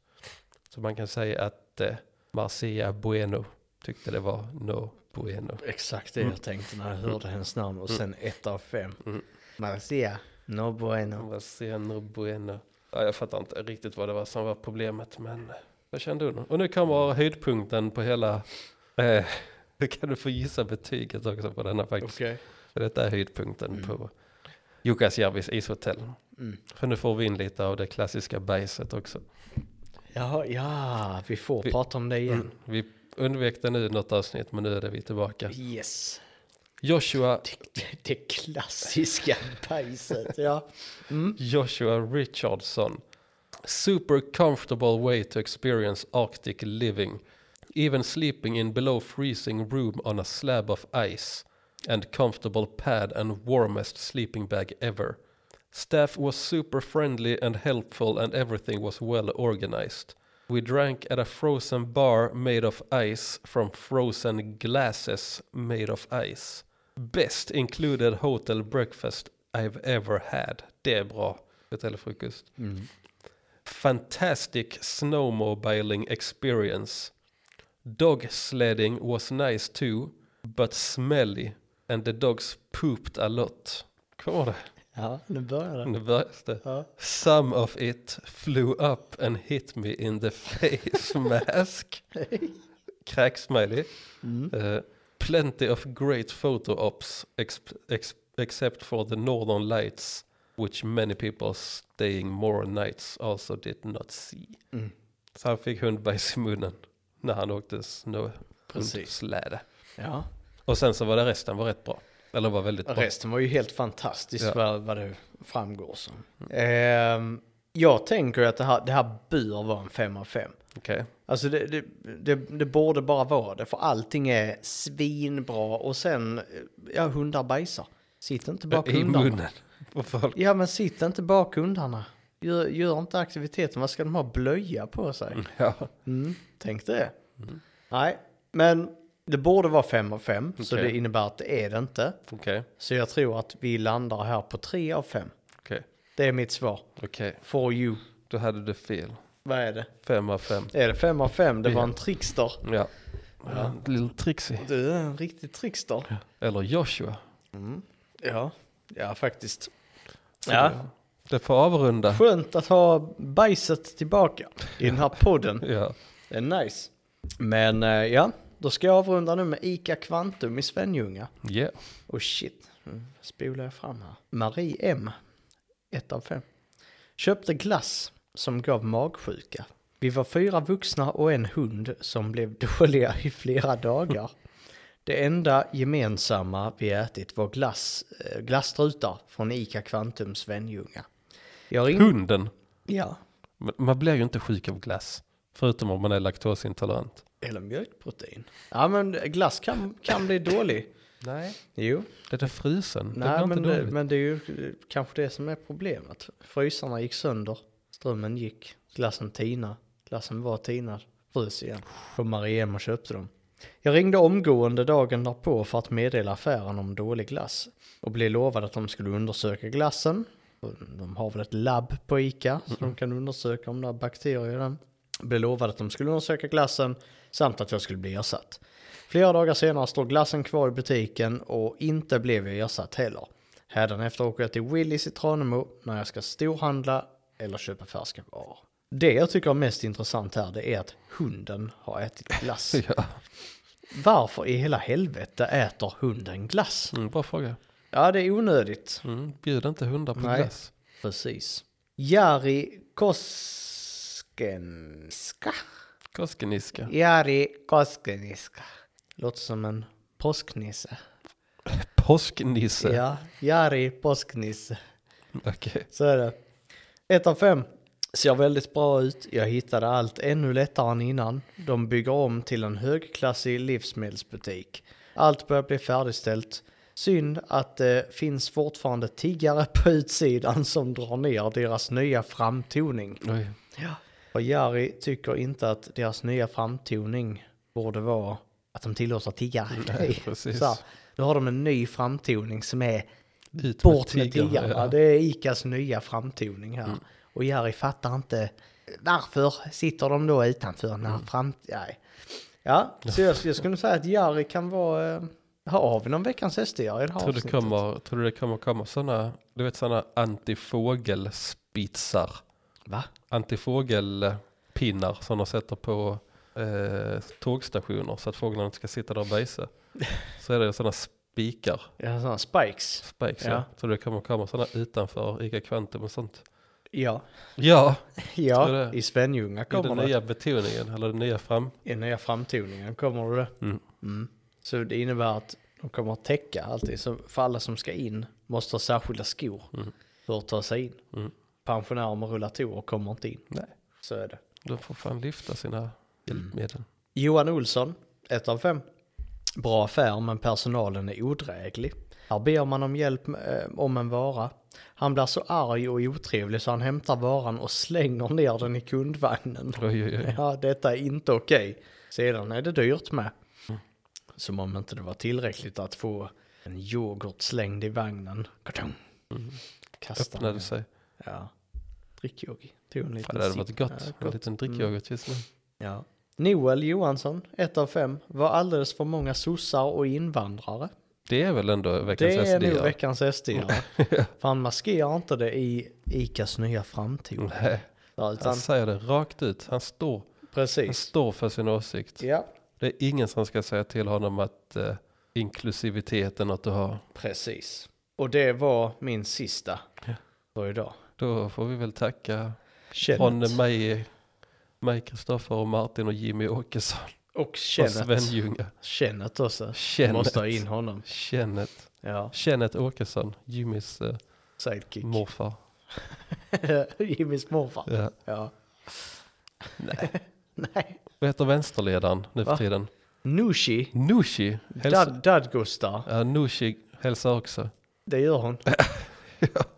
Så man kan säga att eh, Marcia Bueno tyckte det var no bueno.
Exakt det jag tänkte när jag hörde hennes namn och
Mm.
sen ett av fem.
Mm.
Marcia, no bueno.
Marciano Bueno. Ja, jag fattar inte riktigt vad det var som var problemet, men jag kände under. Och nu kommer höjdpunkten på hela... Eh, nu kan du få gissa betyget också på denna faktiskt.
Okej.
För detta är höjdpunkten
Mm.
på Jukkasjärvis ishotell.
Mm.
För nu får vi in lite av det klassiska bajset också.
Jaha, ja, vi får
Vi-
prata om det igen.
Mm. Vi undvek det nu i något avsnitt, men nu är det vi tillbaka.
Yes.
Joshua,
Det, det, det klassiska bajset, ja. Mm.
Joshua Richardson. Super comfortable way to experience Arctic living. Even sleeping in below freezing room on a slab of ice. And comfortable pad and warmest sleeping bag ever. Staff was super friendly and helpful and everything was well organized. We drank at a frozen bar made of ice from frozen glasses made of ice. Best included hotel breakfast I've ever had. Det är bra. Hotellfrukost.
Mm.
Fantastic snowmobiling experience. Dog sledding was nice too, but smelly. And the dogs pooped a lot. Kommer det?
Ja, nu börjar det.
Nu börjar det.
Ja.
Some of it flew up and hit me in the face mask. Kräksmiley.
Mm.
Uh, plenty of great photo ops, exp- ex- except for the northern lights, which many people staying more nights also did not see.
Mm.
Så han fick hundbajs i munnen när han åkte snö-
Precis.
hundsläde.
Ja.
Och sen så var det resten var rätt bra. Eller var väldigt bra.
Resten var ju helt fantastiskt
Ja.
vad, vad det framgår som. Ehm, jag tänker att det här, det här bör vara en fem av fem.
Okej.
Alltså det, det, det, det borde bara vara det, för allting är svinbra och sen, eh, ja hundar bajsar. Sitt inte bak
I
hundarna.
munnen på folk.
Ja men sitt inte bak hundarna. Gör, gör inte aktiviteten, vad ska de ha blöja på sig?
Ja.
Mm, tänk det. Nej, men det borde vara fem av fem, så
Okej.
det innebär att det är det inte.
Okej.
Så jag tror att vi landar här på tre av fem.
Okej.
Det är mitt svar.
Okej.
For you.
Då hade du fel.
Vad är det?
Fem av fem.
Är det fem av fem? Det var en trickster.
Ja. ja. Little Trixie.
Du är en riktig trickster.
Eller Joshua.
Mm. Ja, ja faktiskt.
Så
Ja.
det- Det får avrunda.
Skönt att ha bajset tillbaka i den här podden.
Ja.
Det är nice. Men eh, ja, då ska jag avrunda nu med ICA Kvantum i Svenljunga.
Yeah.
Och Oh, shit, nu Mm. spolar jag fram här. Marie M, 1 av 5. Köpte glass som gav magsjuka. Vi var fyra vuxna och en hund som blev dåliga i flera dagar. Det enda gemensamma vi ätit var glass, eh, glasstrutar från ICA Kvantum Svenljunga. Jag ringde...
Hunden.
Ja,
Men Man blir ju inte sjuk av glass. Förutom om man är laktosintolerant.
eller mjölkprotein. Ja, men glass kan, kan bli dålig.
Nej.
Jo,
Det är frusen.
Nej,
det blir
men,
inte
det,
dåligt.
men det är ju kanske det som är problemet. Frysarna gick sönder, strömmen gick, glassen tinade, glassen var tinad, frös igen. Och Mariem och köpte dem. Jag ringde omgående dagen därpå för att meddela affären om dålig glass och blev lovad att de skulle undersöka glassen. Och De har väl ett labb på ICA så de kan undersöka om det är bakterier i den. Blev lovad att de skulle undersöka glassen samt att jag skulle bli ersatt. Flera dagar senare står glassen kvar i butiken och inte blev jag ersatt heller. Hädanefter åker jag till Willys i Tranemo när jag ska storhandla eller köpa färska varor. Det jag tycker är mest intressant här det är att hunden har ätit glass.
Ja.
Varför i hela helvete äter hunden glass?
Mm, bra fråga.
Ja, det är onödigt.
Mm, bjud inte hundar på
Nej.
glass.
Precis. Jari Koskenska.
Koskeniska.
Jari Koskeniska. Låter som en påsknisse.
Påsknisse.
Ja, Jari Påsknisse.
Okej.
Så är det. Ett av fem. Ser väldigt bra ut. Jag hittade allt ännu lättare än innan. De bygger om till en högklassig livsmedelsbutik. Allt börjar bli färdigställt. Synd att det finns fortfarande tiggare på utsidan som drar ner deras nya framtoning.
Oj.
Ja. Och Jari tycker inte att deras nya framtoning borde vara att de tillåter tiggare.
Nej, precis.
Så här, då har de en ny framtoning som är
Ut
bort med
tiggarna,
tiggarna.
ja. Mm.
Det är Icas nya framtoning här. Och Jari fattar inte varför sitter de då utanför när
Mm.
fram... Nej. Ja, så jag, jag skulle säga att Jari kan vara... eh, Har vi någon veckans häst i Jari? i det här
Tror du,
avsnittet?
kommer, tror du det kommer komma sådana, du vet sådana antifågelspitsar,
Va?
antifågelpinnar som de sätter på eh, tågstationer så att fåglarna inte ska sitta där och bajsa. Så är det sådana spikar,
Ja, sådana spikes.
spikes
Ja.
ja. Tror du det kommer komma sådana utanför Ica Quantum och sånt?
Ja,
Ja, Tror
ja
det.
i Svenljunga
i den
kommer det.
nya betoningen eller den nya fram.
I den nya framtoningen kommer det.
Mm.
Mm. Så det innebär att de kommer att täcka alltid. Så för alla som ska in måste ha särskilda skor
Mm.
för att ta sig in.
Mm.
Pensionärer med rullatorer kommer inte in.
Nej,
Så är det.
de får fan lyfta
Mm.
sina hjälpmedel.
Johan Olsson, 1 av 5. Bra affär men personalen är odräglig. Här ber man om hjälp eh, om en vara. Han blir så arg och otrevlig så han hämtar varan och slänger ner den i kundvagnen.
Oj, oj, oj.
Ja, detta är inte okej. Sedan är det dyrt med.
Mm.
Som om inte det var tillräckligt att få en yoghurt slängd i vagnen. Kartong.
Mm.
Kasta
Öppnade
den.
sig.
Ja. Drickyogi. Tog en
Fan,
liten
det hade varit
sipp.
gott.
Ja, Mm.
En liten drickyoghurt just nu.
Ja. Noel Johansson, ett av fem, var alldeles för många sossar och invandrare.
Det är väl ändå veckans
Det är
SD?
nog veckans sd
Mm.
För han maskerar inte det i Icas nya framtid.
Nej,
Utan,
han säger det rakt ut. Han står, han
precis.
står för sin åsikt.
Ja,
Det är ingen som ska säga till honom att eh, inklusivitet är något att ha.
precis. Och det var min sista
Ja.
för idag.
Då får vi väl tacka från
Kenneth.
mig, mig, Kristoffer och Martin och Jimmy Åkesson
Och
och Sven
Kenneth.
Ljunga.
Kenneth också.
Kenneth.
Måste ha in honom.
Kenneth,
Ja,
Kenneth Åkesson, Jimmys eh,
sidekick.
morfar.
Jimmys morfar.
Ja.
Ja.
Nej.
Nej.
Vad heter vänsterledaren nu för
Va?
tiden?
Nushi.
Nushi hälsar,
Dad, Dadgustar.
ja, Nushi hälsar också.
Det gör hon.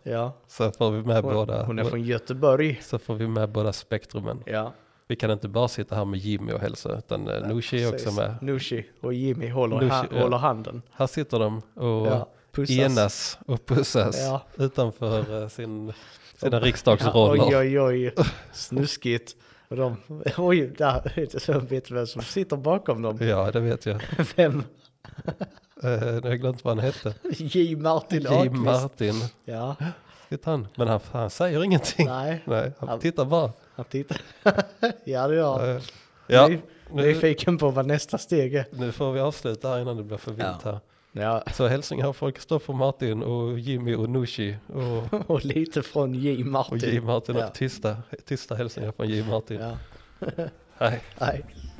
ja.
Så får vi med
Hon,
båda.
hon är från Göteborg.
Så får vi med båda spektrumen.
Ja,
Vi kan inte bara sitta här med Jimmy och hälsa, utan eh, Nooshi är också
precis.
med.
Nushi och Jimmy håller,
Nushi,
ha,
ja.
håller handen.
Här sitter de och
Ja, pussas.
enas och pussas
Ja.
utanför eh, sin, sina
Ja,
riksdagsroller.
oj, oj, oj. Snuskigt. Och de, oj, där så vet du vem som sitter bakom dem.
Ja, det vet jag.
Vem?
Eh, nu har jag glömt vad han hette.
J. Martin
J.
Ahlqvist.
Martin.
Ja,
Heter han. Men han, han säger ingenting. Nej.
nej,
han,
Han-
tittar bara.
han tittar. ja, det gör han.
Eh, ja,
Nu-
nu,
Nyfiken på vad nästa steg är.
nu får vi avsluta här innan det blir för vilt här.
Ja,
Så hälsningar från Kristoffer Martin och Jimmy och Nooshi och
och lite från J. Martin.
Och J. Martin
Ja.
och tysta, tysta hälsningar från J. Martin.
Ja,
Hej.
nej.